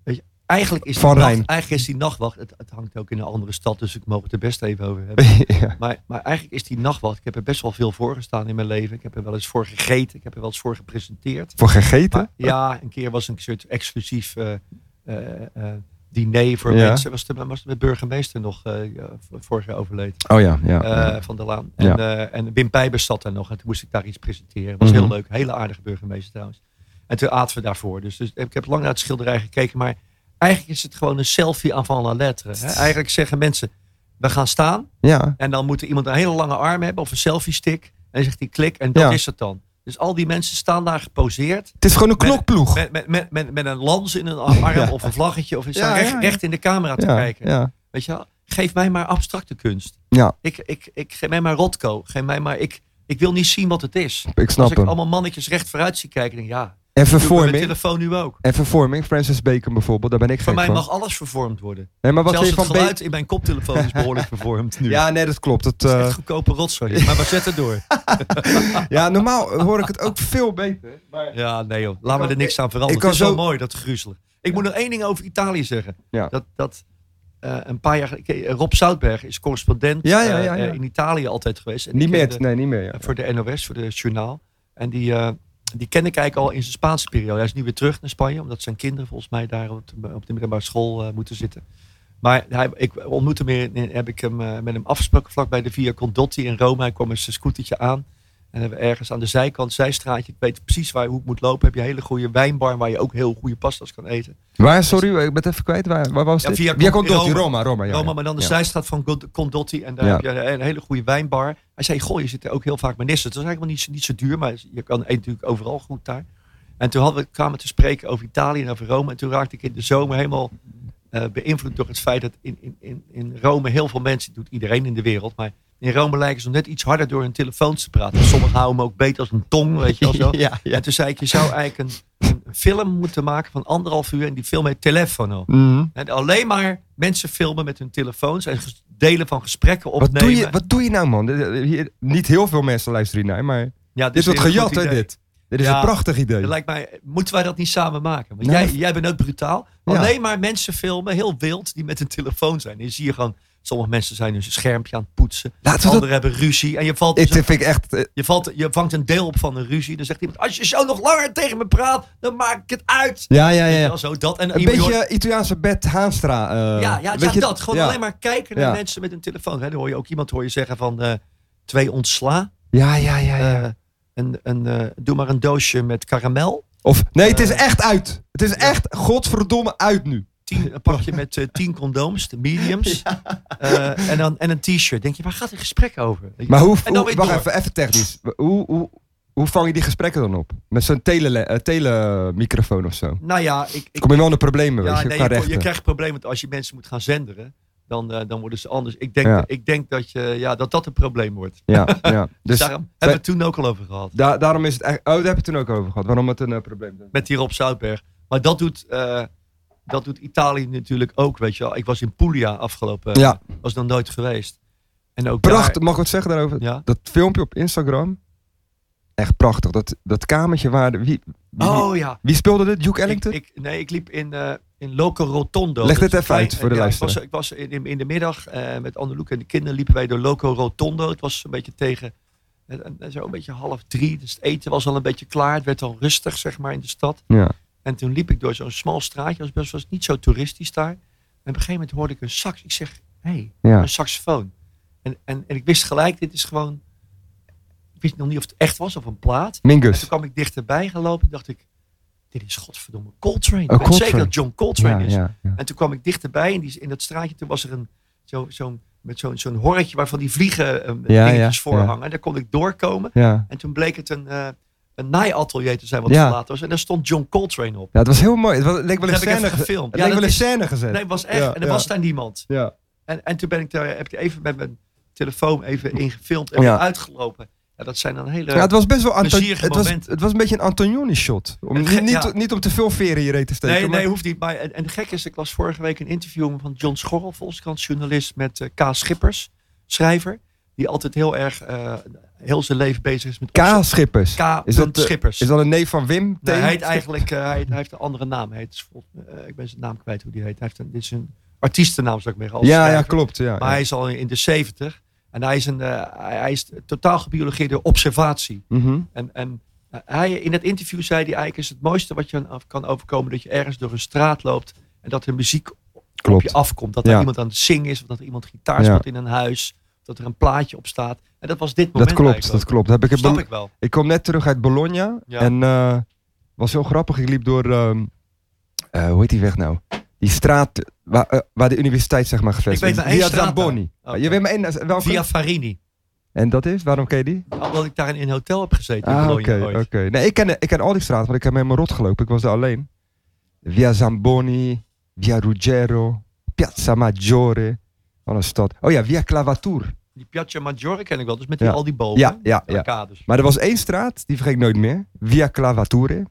S2: weet je, eigenlijk, is die
S1: Van
S2: nacht-
S1: Rijn.
S2: eigenlijk is die nachtwacht. Het, het hangt ook in een andere stad, dus ik mag het er best even over hebben.
S1: ja.
S2: Maar, maar eigenlijk is die nachtwacht. Ik heb er best wel veel voor gestaan in mijn leven. Ik heb er wel eens voor gegeten. Ik heb er wel eens voor gepresenteerd.
S1: Voor gegeten?
S2: Maar ja, een keer was een soort exclusief eh, eh, eh, diner voor
S1: Ja.
S2: mensen. Was de, was de burgemeester nog eh, ja, v- vorig jaar overleed
S1: oh ja, ja.
S2: eh,
S1: ja.
S2: van der Laan. En,
S1: Ja.
S2: eh, en Wim Pijbers zat daar nog. En toen moest ik daar iets presenteren. Was
S1: Mhm.
S2: heel leuk. Hele aardige burgemeester trouwens. En toen aten we daarvoor. Dus, dus ik heb lang naar het schilderij gekeken. Maar eigenlijk is het gewoon een selfie aan van la lettre. Hè? Eigenlijk zeggen mensen, we gaan staan.
S1: ja.
S2: En dan moet er iemand een hele lange arm hebben of een selfie stick. En dan zegt hij klik en dat
S1: Ja.
S2: is het dan. Dus al die mensen staan daar geposeerd.
S1: Het is gewoon een
S2: Met-
S1: knokploeg.
S2: Met, met, met, met, met een lans in een arm
S1: [LAUGHS] Ja.
S2: of een vlaggetje. Of ze
S1: Ja,
S2: staan recht,
S1: ja, ja.
S2: recht in de camera te
S1: ja,
S2: kijken.
S1: ja.
S2: Weet je wel? Geef mij maar abstracte kunst.
S1: Ja.
S2: Ik, ik, ik, geef mij maar Rotko. Geef mij maar, ik, ik wil niet zien wat het is.
S1: Ik
S2: Als
S1: snap
S2: ik
S1: hem.
S2: allemaal mannetjes recht vooruit zie kijken, denk ik, ja,
S1: En
S2: doe ik met mijn
S1: vervorming.
S2: telefoon nu ook.
S1: En vervorming. Francis Bacon bijvoorbeeld, daar ben ik
S2: Voor
S1: gek
S2: mij
S1: van.
S2: mag alles vervormd worden.
S1: Nee, maar wat
S2: Zelfs
S1: vind je
S2: het
S1: van Bacon?
S2: geluid in mijn koptelefoon is behoorlijk
S1: [LAUGHS]
S2: vervormd nu.
S1: Ja, nee, dat klopt. Dat,
S2: Het is
S1: eh,
S2: echt goedkope rotzooi. Maar we zetten door.
S1: ja, normaal hoor ik het ook veel beter.
S2: Ja, nee joh. Laat me er niks aan
S1: ik
S2: veranderen. het
S1: kan
S2: is zo
S1: zo-
S2: mooi, dat gruzelig. Ik moet nog één ding over Italië zeggen.
S1: Ja.
S2: Dat, dat eh, een paar jaar geleden... Kijk, Rob Zoutberg is correspondent
S1: Ja, ja,
S2: eh,
S1: ja, ja.
S2: eh, in Italië altijd geweest. En
S1: Niet
S2: die
S1: meer.
S2: kende-
S1: Nee, niet meer. Ja.
S2: Voor de NOS, voor de journaal. En die, eh, die kende ik eigenlijk al in zijn Spaanse periode. Hij is nu weer terug naar Spanje, omdat zijn kinderen volgens mij daar op de, op de middelbare school eh, moeten zitten. Maar hij, ik ontmoette hem, in- in- heb ik hem eh, met hem afgesproken vlak bij de Via Condotti in Rome. Hij kwam met zijn scootertje aan. En hebben we ergens aan de zijkant, zijstraatje, ik weet precies waar, hoe ik moet lopen. Heb je een hele goede wijnbar waar je ook heel goede pasta's kan eten.
S1: Waar, sorry, ik ben het even kwijt. Waar, waar was
S2: Ja,
S1: dit?
S2: via
S1: Via
S2: Con-
S1: Condotti,
S2: Roma.
S1: Roma. Roma, ja, ja.
S2: Roma, maar dan de
S1: Ja.
S2: zijstraat van Gond- Condotti. En daar
S1: Ja.
S2: heb je een hele goede wijnbar. Hij zei, goh, je zit er ook heel vaak met nissen. Het is eigenlijk wel niet, zo- niet zo duur, maar je kan eet natuurlijk overal goed daar. En toen hadden we, kwamen we te spreken over Italië en over Rome. En toen raakte ik in de zomer helemaal eh, beïnvloed door het feit dat in, in, in, in Rome heel veel mensen, dat doet iedereen in de wereld, maar in Rome lijken ze nog net iets harder door hun telefoons te praten. Sommigen houden hem ook beter als een tong, weet je wel zo.
S1: Ja, [LAUGHS] ja.
S2: En toen zei ik, je zou eigenlijk een, een film moeten maken van anderhalf uur en die film heet Telefono.
S1: Mhm.
S2: En alleen maar mensen filmen met hun telefoons en ges- delen van gesprekken opnemen.
S1: Wat, doe je, wat doe je nou, man? Dit- dit- hier- niet heel veel mensen luisteren hiernaar, maar
S2: ja,
S1: dit wordt
S2: weer een
S1: gejat,
S2: goed
S1: hè,
S2: idee.
S1: dit. Dit is
S2: Ja.
S1: een prachtig idee.
S2: Dat lijkt mij, moeten wij dat niet samen maken? Want
S1: Nee,
S2: jij,
S1: dat-
S2: jij bent ook brutaal.
S1: Ja.
S2: Alleen maar mensen filmen, heel wild, die met hun telefoon zijn. Je ziet gewoon, sommige mensen zijn hun schermpje aan het poetsen.
S1: Laten we dat...
S2: Anderen hebben ruzie. En je, valt
S1: Ik
S2: dus-
S1: dit vind ik echt... eh,
S2: je, valt, je vangt een deel op van een ruzie. Dan zegt iemand, als je zo nog langer tegen me praat, dan maak ik het uit.
S1: Ja, ja, ja.
S2: Ja,
S1: ja.
S2: zo dat. En dan
S1: Een
S2: iemand die
S1: beetje Italiaanse Bert Haanstra. eh,
S2: ja, ja,
S1: weet
S2: ja
S1: je-
S2: dat. Gewoon
S1: ja.
S2: alleen maar kijken naar
S1: Ja.
S2: mensen met een telefoon. Hè, dan hoor je ook iemand hoor je zeggen van eh, twee ontsla.
S1: Ja, ja, ja. Ah, ja.
S2: Eh, een, een, eh, doe maar een doosje met karamel.
S1: of, nee, het
S2: eh,
S1: is echt uit. Het is echt godverdomme uit nu.
S2: Tien, een pakje met eh, tien condooms, de
S1: [LAUGHS]
S2: mediums. Eh, en, dan, en een t-shirt. Denk je, waar gaat het gesprek over? Weet je?
S1: Maar hoe,
S2: En dan
S1: hoe-
S2: weer
S1: wacht
S2: door.
S1: even, even technisch. Hoe, hoe, hoe vang je die gesprekken dan op? Met zo'n tele, eh, telemicrofoon of zo?
S2: Nou ja, ik, ik,
S1: Kom je wel in de problemen, weet
S2: ja,
S1: je?
S2: nee,
S1: qua
S2: je, je
S1: rechten.
S2: krijgt problemen want als je mensen moet gaan zenderen. Dan, eh, dan worden ze anders. Ik denk,
S1: Ja.
S2: ik denk dat, je, ja, dat dat een probleem wordt.
S1: Ja,
S2: [LAUGHS]
S1: ja.
S2: Dus
S1: Dus
S2: daarom hebben we het toen ook al over gehad.
S1: da- daarom is het echt... Oh, daar hebben we het toen ook over gehad. Waarom het een eh, probleem is.
S2: met die Rob Zoutberg. Maar dat doet, eh, dat doet Italië natuurlijk ook, weet je wel. Ik was in Puglia afgelopen,
S1: Ja,
S2: was nog nooit geweest. En ook
S1: prachtig. Mag ik wat zeggen daarover?
S2: daar- ja.
S1: Dat filmpje op Instagram. Echt prachtig. Dat, dat kamertje waar... de- Wie, wie,
S2: Oh ja.
S1: wie speelde dit? Duke
S2: Ik,
S1: Ellington?
S2: ik, nee, ik liep in, eh, in Loco Rotondo.
S1: Leg
S2: Dat
S1: dit
S2: is
S1: even
S2: een
S1: uit voor de
S2: ja,
S1: luisteraar.
S2: Ik was, ik was in- in, in de middag eh, met Anneloek en de kinderen liepen wij door Loco Rotondo. Het was een beetje tegen, eh, eh, zo een beetje half drie. Dus het eten was al een beetje klaar. Het werd al rustig, zeg maar, in de stad.
S1: ja.
S2: En toen liep ik door zo'n smal straatje. was best was niet zo toeristisch daar. En op een gegeven moment hoorde ik een sax. Ik zeg, hé, hey,
S1: ja.
S2: een saxofoon. En, en, en ik wist gelijk, dit is gewoon... Ik wist nog niet of het echt was of een plaat. En toen
S1: Mingus.
S2: kwam ik dichterbij gelopen en dacht ik... Dit is godverdomme Coltrane. ik
S1: Oh,
S2: weet zeker
S1: Coltrane.
S2: dat John Coltrane
S1: Ja,
S2: is.
S1: ja, ja.
S2: En toen kwam ik dichterbij in, die, in dat straatje. Toen was er een, zo, zo'n met zo'n, zo'n horretje waarvan die vliegen eh,
S1: Ja,
S2: dingetjes
S1: ja,
S2: voor
S1: ja.
S2: hangen. En daar kon ik doorkomen.
S1: Ja.
S2: En toen bleek het een, eh een naaiatelier te zijn wat
S1: Ja.
S2: verlaten was. En daar stond John Coltrane op.
S1: ja, het was heel mooi. Het was- het leek wel
S2: Dat
S1: een
S2: heb ik
S1: scène,
S2: even
S1: ge- het
S2: gefilmd.
S1: leek
S2: dat
S1: wel een
S2: is-
S1: scène gezet.
S2: nee, het was echt.
S1: Ja,
S2: en er
S1: ja.
S2: was daar niemand.
S1: Ja.
S2: En, en toen ben ik daar, heb ik even met mijn telefoon even ingefilmd en
S1: Ja.
S2: weer uitgelopen. Ja, dat zijn dan hele...
S1: Ja, het was best wel Anto-
S2: plezierige
S1: het was,
S2: momenten.
S1: het was een beetje een Antonioni-shot. Om,
S2: Het ge-
S1: niet, niet,
S2: ja.
S1: niet om te veel veren in je reet te steken.
S2: nee,
S1: maar-
S2: nee, hoeft niet. Maar, en, en de gek is, ik las vorige week een interview van John Schorrel, Volkskrant journalist, met eh, K. Schippers, schrijver. Die altijd heel erg, eh, heel zijn leven bezig is met...
S1: K. Schippers.
S2: K.
S1: Is dat, eh,
S2: Schippers.
S1: Is dat een neef van Wim?
S2: Nee,
S1: T?
S2: hij heet eigenlijk, eh, hij, hij heeft een andere naam. Hij heet, eh, ik ben zijn naam kwijt hoe die heet. Hij heeft een, dit is een artiestennaam, zou ik maar zeggen. als
S1: Ja, ja,
S2: schrijver.
S1: klopt. Ja,
S2: Maar
S1: ja.
S2: hij is al in de 70 En hij is, een, eh, hij hij is totaal gebiologeerd door observatie.
S1: Mhm.
S2: En, en eh, hij, in het interview zei hij eigenlijk is het mooiste wat je aan- kan overkomen dat je ergens door een straat loopt en dat er muziek op je
S1: Klopt.
S2: afkomt. Dat er
S1: Ja.
S2: iemand aan het zingen is of dat er iemand gitaar
S1: Ja.
S2: speelt in een huis. Dat er een plaatje op staat. En dat was dit moment
S1: Dat klopt, dat
S2: eigenlijk
S1: klopt. Heb ik,
S2: ook.
S1: het
S2: Snap
S1: bel-
S2: ik wel.
S1: ik kwam net terug uit Bologna.
S2: Ja.
S1: En eh was heel grappig. Ik liep door... ehm, eh, hoe heet die weg nou? Die straat waar, eh, waar de universiteit zeg maar gevestigd
S2: weet
S1: is.
S2: maar één
S1: Via
S2: straat
S1: Zamboni. Ah,
S2: nou. Oké.
S1: Je weet maar één... Welke?
S2: Via Farini.
S1: En dat is? Waarom ken je die?
S2: Omdat ik daar in een hotel heb gezeten. in
S1: Ah, oké,
S2: Bologna
S1: oké.
S2: ooit.
S1: Nee, ik ken, ik ken al die straten, want ik heb me helemaal rot gelopen. Ik was daar alleen. Via Zamboni, via Ruggero, Piazza Maggiore. Wat een stad. Oh ja, Via Clavatur.
S2: Die Piazza Maggiore ken ik wel, dus met die,
S1: Ja.
S2: al die bomen.
S1: Ja, ja,
S2: en
S1: ja.
S2: Arcades.
S1: Maar er was één straat, die vergeet ik nooit meer. Via Clavature.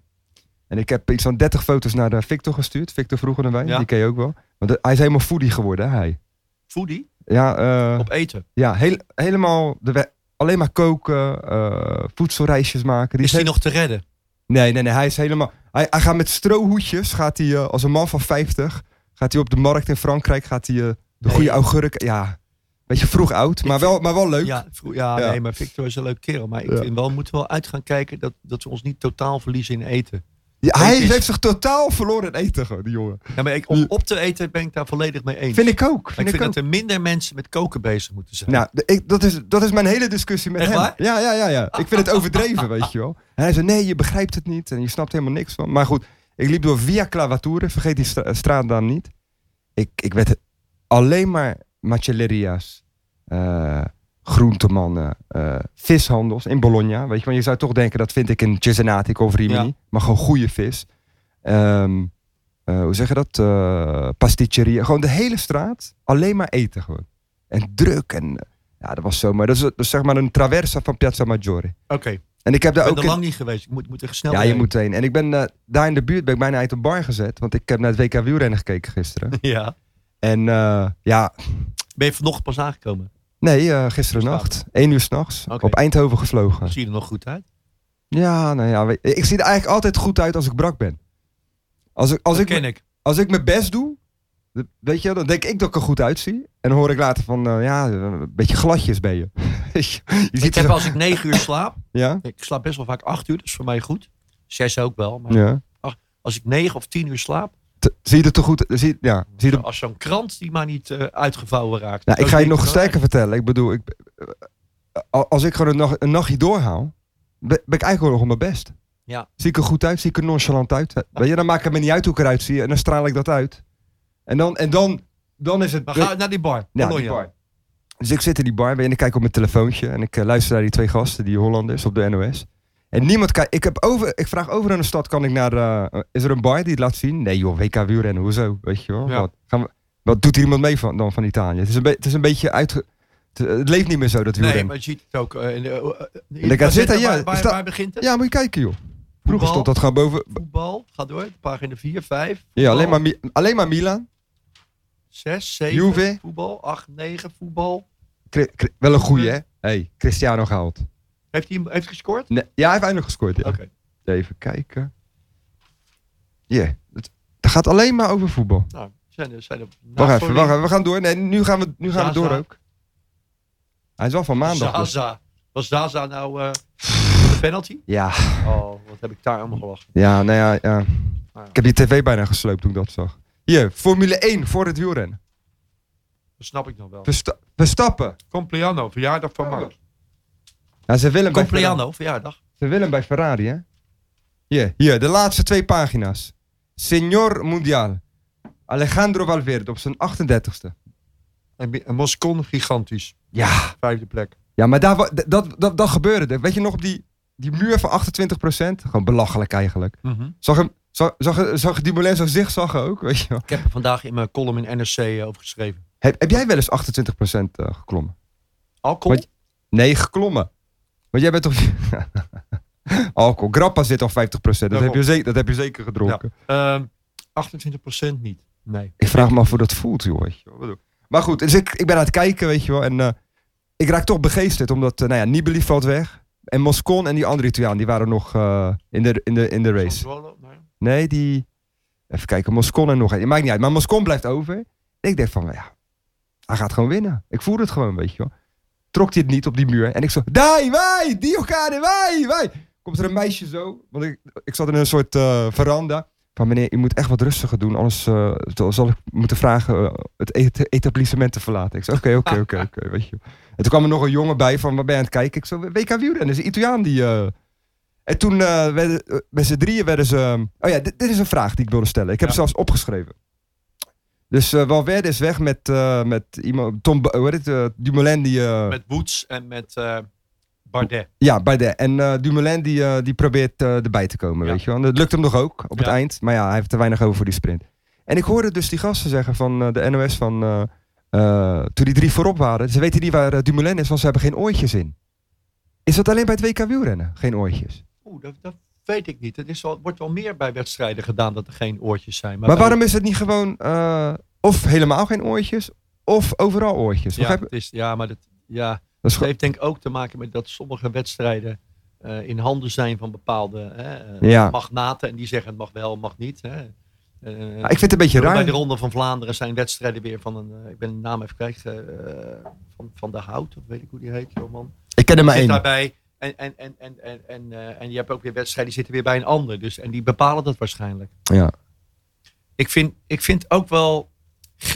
S1: En ik heb iets van 30 foto's naar eh, Victor gestuurd. Victor vroeger dan wij,
S2: Ja.
S1: die ken je ook wel. Want eh, hij is helemaal foodie geworden, hè, hij.
S2: Foodie,
S1: Ja, eh,
S2: op eten.
S1: ja heel, helemaal de we- alleen maar koken, eh, voedselreisjes maken. Die
S2: Is die
S1: he-
S2: nog te redden?
S1: Nee, nee, nee, hij is helemaal... Hij, hij gaat met strohoedjes, gaat hij eh, als een man van 50, gaat hij op de markt in Frankrijk, gaat hij eh, de
S2: Nee.
S1: goede augurk... Ja, beetje vroeg oud, maar wel, maar wel leuk.
S2: Ja, vro- ja,
S1: Ja.
S2: nee, maar Victor is een leuk kerel. Maar ik
S1: Ja.
S2: vind wel, we moeten wel uit gaan kijken dat, dat we ons niet totaal verliezen in eten.
S1: Ja, hij
S2: Eet is-
S1: heeft zich totaal verloren in eten, gewoon, die jongen.
S2: Ja, maar ik, om op te eten ben ik daar volledig mee eens.
S1: Vind ik ook.
S2: Maar
S1: Vind
S2: ik
S1: ik
S2: vind
S1: ook.
S2: dat er minder mensen met koken bezig moeten zijn.
S1: Nou, de- ik, dat, is, dat is mijn hele discussie met
S2: Echt
S1: hem.
S2: waar?
S1: Ja, ja, ja, ja. Ik
S2: [LAUGHS]
S1: vind het overdreven, weet je wel. En hij zei, nee, je begrijpt het niet en je snapt helemaal niks van. Maar goed, ik liep door Via Clavature, vergeet die stra- straatnaam niet. Ik, ik werd alleen maar macelleria's, eh, groentemannen, eh, vishandels in Bologna. Weet je, want je zou toch denken, dat vind ik in Cesenatico of Rimini.
S2: Ja.
S1: Maar gewoon goede vis. Ehm, eh, hoe zeg je dat? Eh pasticceria. Gewoon de hele straat, alleen maar eten gewoon. En druk en... eh, ja, dat was zo. Maar dat is, dat is zeg maar een traversa van Piazza Maggiore.
S2: Oké,
S1: En ik heb daar
S2: ik ben
S1: ook...
S2: er
S1: in-
S2: lang niet geweest. Ik moet, moet er snel
S1: ja, je
S2: doorheen.
S1: moet heen. En ik ben eh, daar in de buurt ben ik bijna uit de bar gezet. Want ik heb naar het WK wielrennen gekeken gisteren.
S2: [LAUGHS] Ja.
S1: en eh, ja,
S2: Ben je vanochtend pas aangekomen?
S1: Nee, eh gisteren
S2: Slapen.
S1: nacht. 1 uur s'nachts.
S2: Oké.
S1: Op Eindhoven gevlogen.
S2: Zie je er nog goed uit?
S1: Ja, nou ja. weet- Ik zie er eigenlijk altijd goed uit als ik brak ben. Als ik, als
S2: Dat
S1: ik,
S2: ken
S1: me-
S2: ik.
S1: als ik mijn best doe, dat- weet je, wel, dan denk ik dat ik er goed uitzie. En dan hoor ik later van, eh, ja, een beetje gladjes ben je. [LAUGHS] je ziet
S2: Ik
S1: er
S2: heb
S1: zo-
S2: als ik negen uur slaap.
S1: Ja?
S2: Ik slaap best wel vaak acht uur, dat is voor mij goed. Zes ook wel. Maar
S1: ja.
S2: als ik negen of tien uur slaap.
S1: Te- zie je er toch goed zie, ja, zie je er-
S2: Als zo'n krant die maar niet eh, uitgevouwen raakt.
S1: nou, ik
S2: Zo
S1: ga je
S2: denk oh,
S1: nog
S2: wel,
S1: sterker vertellen. Ik bedoel, ik, eh, a- als ik gewoon een, nacht, een nachtje doorhaal, ben, ben ik eigenlijk gewoon nog op mijn best.
S2: Ja.
S1: Zie ik er goed uit? Zie ik er nonchalant uit? Weet je, dan maakt het me niet uit hoe ik eruit zie en dan straal ik dat uit. En dan, en dan, dan is het...
S2: Maar ga naar die bar.
S1: Ja,
S2: Bologna.
S1: die bar. Dus ik zit in die bar en ik kijk op mijn telefoontje en ik eh, luister naar die twee gasten, die Hollanders op de NOS. En niemand kijkt. Ik, heb over, ik vraag over aan de stad: kan ik naar. eh, is er een bar die het laat zien? Nee, joh, WK wielrennen, hoezo? Weet je wel.
S2: Ja.
S1: Wat, gaan we, wat doet hier iemand mee van, dan van Italië? Het is een, be- het is een beetje uit. Het leeft niet meer zo dat
S2: Nee,
S1: wielrennen.
S2: maar je ziet het ook. eh, in de, eh, in
S1: En de Gazzetta, ja,
S2: waar, waar,
S1: sta-
S2: waar begint het?
S1: Ja, moet je kijken, joh. Vroeger
S2: Voetbal.
S1: stond dat gewoon boven.
S2: Voetbal, ga door. Pagina 4, 5.
S1: Ja, alleen maar, Mi- alleen maar Milan.
S2: 6, 7.
S1: Juve.
S2: Voetbal, 8, 9. Voetbal.
S1: Cri- cri- wel een goeie, hè? Hey, Cristiano gehaald.
S2: Heeft hij hem- heeft hij gescoord?
S1: Nee, ja, hij heeft eindelijk gescoord. Ja.
S2: Oké.
S1: Even kijken. Ja, het, het gaat alleen maar over voetbal.
S2: Nou, zijn er, zijn er Nou,
S1: Wacht
S2: Napoli,
S1: even, wacht even, we gaan door. Nee, nu gaan we, nu gaan we
S2: Zaza.
S1: door ook. Hij is wel van maandag. dus.
S2: Zaza. Was Zaza
S1: [SIGHS]
S2: nou eh, de penalty?
S1: Ja,
S2: Oh, wat heb ik daar allemaal gelachen.
S1: ja, nou ja, ja.
S2: Ah,
S1: Ik heb die tv bijna gesloopt toen ik dat zag. Hier, Formule 1 voor het wielrennen.
S2: Dat snap ik nog wel.
S1: Versta- Verstappen.
S2: Compliano, verjaardag van Max.
S1: Ja, Nou, ze willen bij Ferrari,
S2: Compliano, verjaardag.
S1: ze willen bij Ferrari, hè? Hier, hier, de laatste twee pagina's. Señor Mundial. Alejandro Valverde op zijn 38ste.
S2: En, en Moscon, gigantisch.
S1: Ja,
S2: Vijfde plek.
S1: Ja, maar daar, wa- d- dat, dat, dat gebeurde. er. Weet je nog op die, die muur van 28%? Gewoon belachelijk eigenlijk.
S2: Mhm.
S1: Zag hem, zag, zag, zag die Moulin zo zigzaggen ook, weet je wel.
S2: Ik heb er vandaag in mijn column in NRC eh, over geschreven.
S1: Heb, heb jij wel eens 28% eh, geklommen?
S2: Alcohol?
S1: Wat- Nee, geklommen. Want jij bent toch... [LAUGHS] Alcohol. Grappa zit al 50%. Dat
S2: Daarom.
S1: heb, je zeker, dat heb je zeker gedronken.
S2: Ehm 28% niet. Nee.
S1: Ik vraag me af hoe dat voelt, joh. Weet je wel. Wat doe- Maar goed, dus ik, ik ben aan het kijken, weet je wel. En eh, ik raak toch begeesterd, omdat eh, nou ja, Nibali valt weg. En Moscon en die andere Italiaan, die waren nog eh, in, de, in, de, in de race.
S2: Sassuolo, nee.
S1: Nee, die. Even kijken, Moscon en nog een. Het maakt niet uit, maar Moscon blijft over. Ik denk van, ja, hij gaat gewoon winnen. Ik voel het gewoon, weet je wel. Trok hij het niet op die muur. En ik zo, dai, wij, Diogane, wij, wij. Komt er een meisje zo, want ik, ik zat in een soort eh, veranda. Van meneer, u moet echt wat rustiger doen, anders eh, zal- zal ik moeten vragen eh, het et- etablissement te verlaten. Ik zei, oké, oké, oké, oké, weet je. wel. En toen kwam er nog een jongen bij van, waar ben je aan het kijken? Ik zo, WK wielrennen, is een Italiaan die... eh, en toen eh, werden, eh, met z'n drieën werden ze... ehm, Oh ja, dit, dit is een vraag die ik wilde stellen. Ik heb
S2: Ja.
S1: het zelfs opgeschreven. Dus eh Valverde is weg met, eh, met iemand... Tom, Bo- hoe heet het? eh, Dumoulin die... eh,
S2: Met Woods en met eh, Bardet.
S1: Ja, bij de. En eh, Dumoulin die, eh, die probeert eh, erbij te komen,
S2: Ja.
S1: weet je wel. En dat lukt hem nog ook op het
S2: Ja.
S1: eind. Maar ja, hij heeft te weinig over voor die sprint. En ik hoorde dus die gasten zeggen van eh, de NOS van... eh, eh, toen die drie voorop waren, ze weten niet waar eh, Dumoulin is, want ze hebben geen oortjes in. Is dat alleen bij het WK wielrennen? Geen oortjes.
S2: Oeh, dat, dat weet ik niet. Het is wel, wordt wel meer bij wedstrijden gedaan dat er geen oortjes zijn.
S1: Maar,
S2: bij-
S1: waarom is het niet gewoon eh, of helemaal geen oortjes, of overal oortjes?
S2: Ja,
S1: Begrijp je?
S2: het is, ja, maar dat, ja,
S1: Dat is
S2: het
S1: gewoon-
S2: heeft denk ik ook te maken met dat sommige wedstrijden eh, in handen zijn van bepaalde hè, eh,
S1: Ja.
S2: magnaten. En die zeggen het mag wel, het mag niet. Hè. Eh,
S1: Ah, ik vind het een beetje
S2: Zo Bij
S1: raar.
S2: de Ronde van Vlaanderen zijn wedstrijden weer van een. eh, ik ben de naam even krijgen. eh, van, van de Hout, of weet ik hoe die heet, zo'n man.
S1: Ik ken er maar
S2: Zit
S1: één.
S2: daarbij. En, en, en, en, en, en, eh, en je hebt ook weer wedstrijden die zitten weer bij een ander. Dus, en die bepalen dat waarschijnlijk.
S1: Ja.
S2: Ik vind, ik vind ook wel.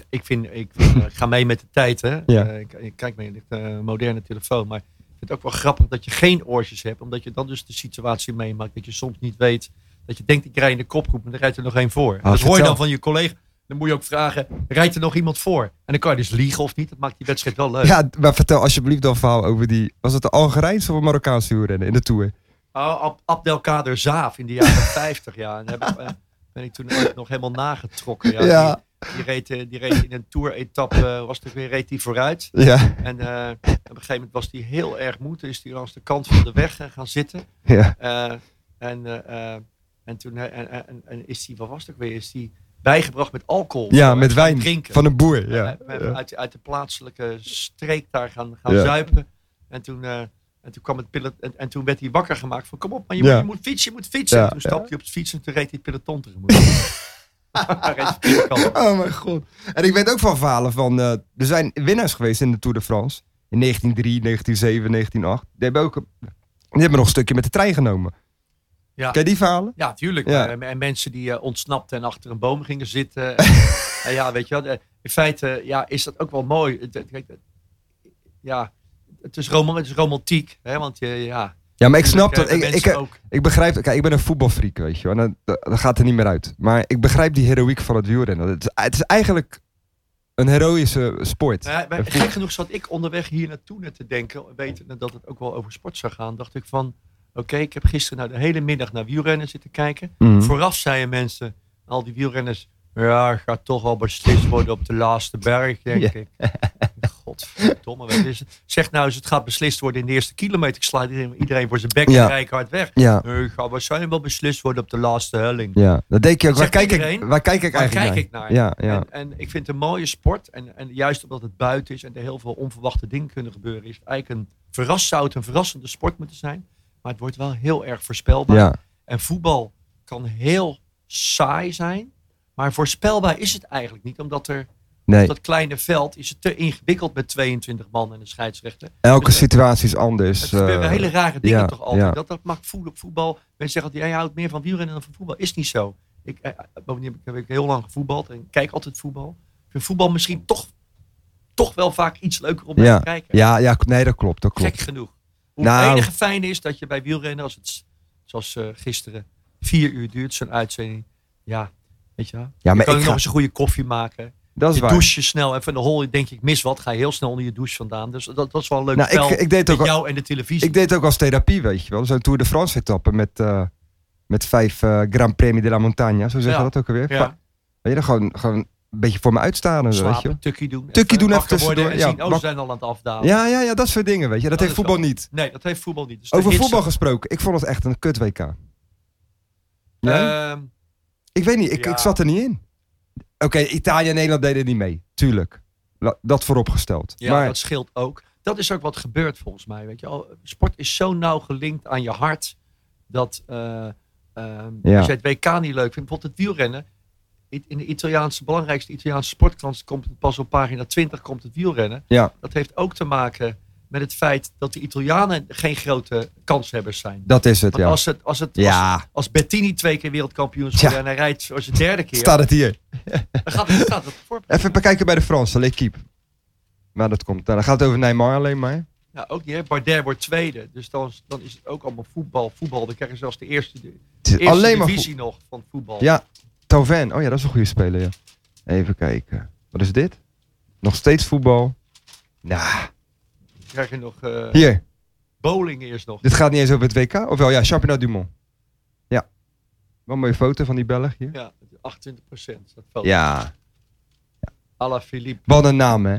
S2: Ik, vind, ik, eh, ik ga mee met de tijd, hè?
S1: Ja.
S2: Eh, ik, ik kijk mee met een moderne telefoon. Maar ik vind het ook wel grappig dat je geen oortjes hebt. Omdat je dan dus de situatie meemaakt. Dat je soms niet weet. Dat je denkt, ik rij in de kopgroep. En er rijdt er nog één voor. dat hoor je
S1: vertel.
S2: dan van je collega. Dan moet je ook vragen, rijdt er nog iemand voor? En dan kan je dus liegen of niet. Dat maakt die wedstrijd wel leuk.
S1: ja, maar vertel alsjeblieft dan een verhaal over die... Was het de Algerijnse of Marokkaanse wielrennen in de Tour?
S2: Oh, Ab- Abdelkader Zaaf in de jaren [LAUGHS] 50, ja. En daar heb ik, eh, ben ik toen ooit nog helemaal nagetrokken. Ja.
S1: Ja.
S2: Die, die, reed, eh, die reed in een tour-etappe, eh, was er weer, reed die vooruit.
S1: Ja,
S2: En eh, op een gegeven moment was die heel erg moe. Toen is die langs de kant van de weg eh, gaan zitten.
S1: ja.
S2: Eh, en, eh, eh, en toen eh, en, en, en is die, wat was het ook weer, is die bijgebracht met alcohol.
S1: ja
S2: Gaan
S1: met wijn
S2: Drinken.
S1: van een boer.
S2: Ja.
S1: Ja.
S2: We, we hebben uit, uit de plaatselijke streek daar gaan, gaan
S1: Ja.
S2: zuipen. En toen, eh, en toen kwam het pilot, en, en toen werd hij wakker gemaakt van kom op, maar je,
S1: Ja.
S2: moet, je moet fietsen, je moet fietsen.
S1: Ja,
S2: En toen
S1: ja.
S2: stapte hij op het fiets en toen reed hij het peloton tegemoet. [LAUGHS] Hij reed de verkeerde kant op.
S1: Oh mijn god. En ik weet ook van verhalen van... eh, er zijn winnaars geweest in de Tour de France. In 1903, 1907, 1908. Die hebben ook... een- Die hebben nog een stukje met de trein genomen.
S2: Ja.
S1: Ken je die verhalen?
S2: Ja, tuurlijk.
S1: Ja.
S2: Maar, eh, en mensen die eh, ontsnapten en achter een boom gingen
S1: [LAUGHS]
S2: zitten. en, eh, ja, weet je wel. eh, In feite ja, is dat ook wel mooi. Het- het- kijk, het- Ja, het is, roman, het is romantiek. Hè, want je, ja,
S1: Ja, maar ik snap dat.
S2: tuurlijk,
S1: Ik,
S2: eh,
S1: ik,
S2: mensen ook.
S1: ik begrijp... Kijk, ik ben een voetbalfreak, weet je wel. En dat, dat gaat er niet meer uit. Maar ik begrijp die heroïek van het wielrennen. Het is, het is eigenlijk een heroïsche sport.
S2: Nou ja, maar
S1: En voet-
S2: gek genoeg zat ik onderweg hier naartoe net te denken, wetende dat het ook wel over sport zou gaan, dacht ik van, oké, ik heb gisteren nou de hele middag naar wielrennen zitten kijken.
S1: Mhm.
S2: Vooraf zeiden mensen, al die wielrenners, ja, het gaat toch wel beslist worden op de laatste berg, denk
S1: Ja.
S2: ik. Godverdomme, wat is het? Zeg nou eens, het gaat beslist worden in de eerste kilometer. Ik sla iedereen- iedereen voor zijn bek
S1: Ja.
S2: en rijk hard weg.
S1: Ja,
S2: Nee, het gaat waarschijnlijk wel beslist worden op de laatste helling.
S1: ja. Dat denk je ook. Waar
S2: Zegt
S1: kijk, ik,
S2: iedereen,
S1: waar kijk ik
S2: Waar
S1: eigenlijk
S2: kijk
S1: naar?
S2: ik naar?
S1: Ja, ja.
S2: En, en ik vind het een mooie sport. En, en juist omdat het buiten is en er heel veel onverwachte dingen kunnen gebeuren, is het eigenlijk een verras, zou het een verrassende sport moeten zijn. Maar het wordt wel heel erg voorspelbaar.
S1: ja.
S2: En voetbal kan heel saai zijn. Maar voorspelbaar is het eigenlijk niet. Omdat er
S1: Nee,
S2: op dat kleine veld is het te ingewikkeld met 22 man en een scheidsrechter.
S1: elke
S2: het-
S1: situatie is anders.
S2: Het gebeuren
S1: eh,
S2: hele rare dingen
S1: ja,
S2: toch altijd.
S1: ja.
S2: Dat, dat maakt voetbal, voetbal. Mensen zeggen dat jij houdt meer van wielrennen dan van voetbal. Is niet zo. Ik, eh, eh, bovendien heb ik, heb ik heel lang gevoetbald en kijk altijd voetbal. Ik vind voetbal misschien toch, toch wel vaak iets leuker om naar te kijken.
S1: ja, ja, nee, dat klopt. Dat
S2: Gek
S1: klopt.
S2: genoeg. Hoe
S1: Nou.
S2: het enige fijne is dat je bij wielrennen, als het s- zoals eh, gisteren, vier uur duurt, zo'n uitzending. Ja, weet je wel.
S1: Ja,
S2: Je
S1: maar
S2: kan
S1: ik
S2: ook
S1: ga-
S2: nog eens een goede koffie maken.
S1: dat is
S2: Je
S1: waar.
S2: douche je snel even de hol. Denk je, ik mis wat. Ga je heel snel onder je douche vandaan. Dus dat, dat is wel een leuk
S1: Nou,
S2: spel.
S1: ik, ik, deed
S2: met
S1: ook, al-
S2: jou en de televisie.
S1: ik deed ook als therapie, weet je wel. Zo'n Tour de France etappe met, eh, met vijf eh, Grand Prix de la Montagne. Zo zeggen
S2: Ja.
S1: we dat ook alweer.
S2: ja.
S1: Va- Weet je, dan gewoon, gewoon een beetje voor me uitstaan. en zo, Weet je?
S2: slapen, tukkie doen.
S1: Tukkie
S2: even
S1: doen even
S2: wakker worden
S1: tussendoor,
S2: En
S1: ja.
S2: zien, oh, ze
S1: Wak-
S2: zijn al aan het afdalen.
S1: wel. Ja, ja, ja, dat soort dingen, weet je. Dat,
S2: Oh, Dat
S1: heeft
S2: is
S1: voetbal
S2: wel-
S1: niet.
S2: Nee, dat heeft voetbal niet. Dus de
S1: Over
S2: hits-
S1: voetbal gesproken. Ik vond het echt een kut WK. Ja?
S2: Ehm,
S1: ik weet niet, ik,
S2: ja.
S1: ik zat er niet in. Oké, Italië en Nederland deden niet mee. Tuurlijk. La- dat vooropgesteld.
S2: ja,
S1: maar,
S2: dat scheelt ook. Dat is ook wat gebeurt volgens mij. Weet je. al. Sport is zo nauw gelinkt aan je hart. Dat eh, ehm,
S1: Ja.
S2: als je het WK niet leuk vindt. Bijvoorbeeld het wielrennen. I- In de Italiaanse, belangrijkste Italiaanse sportkrant komt het pas op pagina 20 komt het wielrennen.
S1: Ja.
S2: Dat heeft ook te maken met het feit dat de Italianen geen grote kanshebbers zijn.
S1: dat is het,
S2: Want
S1: ja.
S2: als het, als het, als
S1: Ja,
S2: Als Bettini twee keer wereldkampioen is
S1: Ja.
S2: geworden en hij rijdt voor zijn derde keer,
S1: staat het hier.
S2: dan gaat het, staat het voor.
S1: Even bekijken bij de Fransen, L'Equipe. Maar dat komt. Nou, dan gaat het over Neymar alleen maar.
S2: Ja, ook niet, hè? Bardet wordt tweede, dus dan, dan is het ook allemaal voetbal. Voetbal, dan krijgen ze zelfs de eerste, de
S1: Het is
S2: eerste
S1: alleen maar
S2: divisie nog van voetbal.
S1: Ja, Tauvin. Oh ja, dat is een goede speler, ja. Even kijken. Wat is dit? Nog steeds voetbal. Nou,
S2: Dan krijg je nog eh,
S1: hier.
S2: bowling eerst nog.
S1: Dit gaat niet eens over het WK. Ofwel, ja, Championnat du Monde. Ja. Wel een mooie foto van die Belg hier.
S2: Ja, 28 procent.
S1: Ja. Ja.
S2: Ala Philippe.
S1: Wat een naam, hè?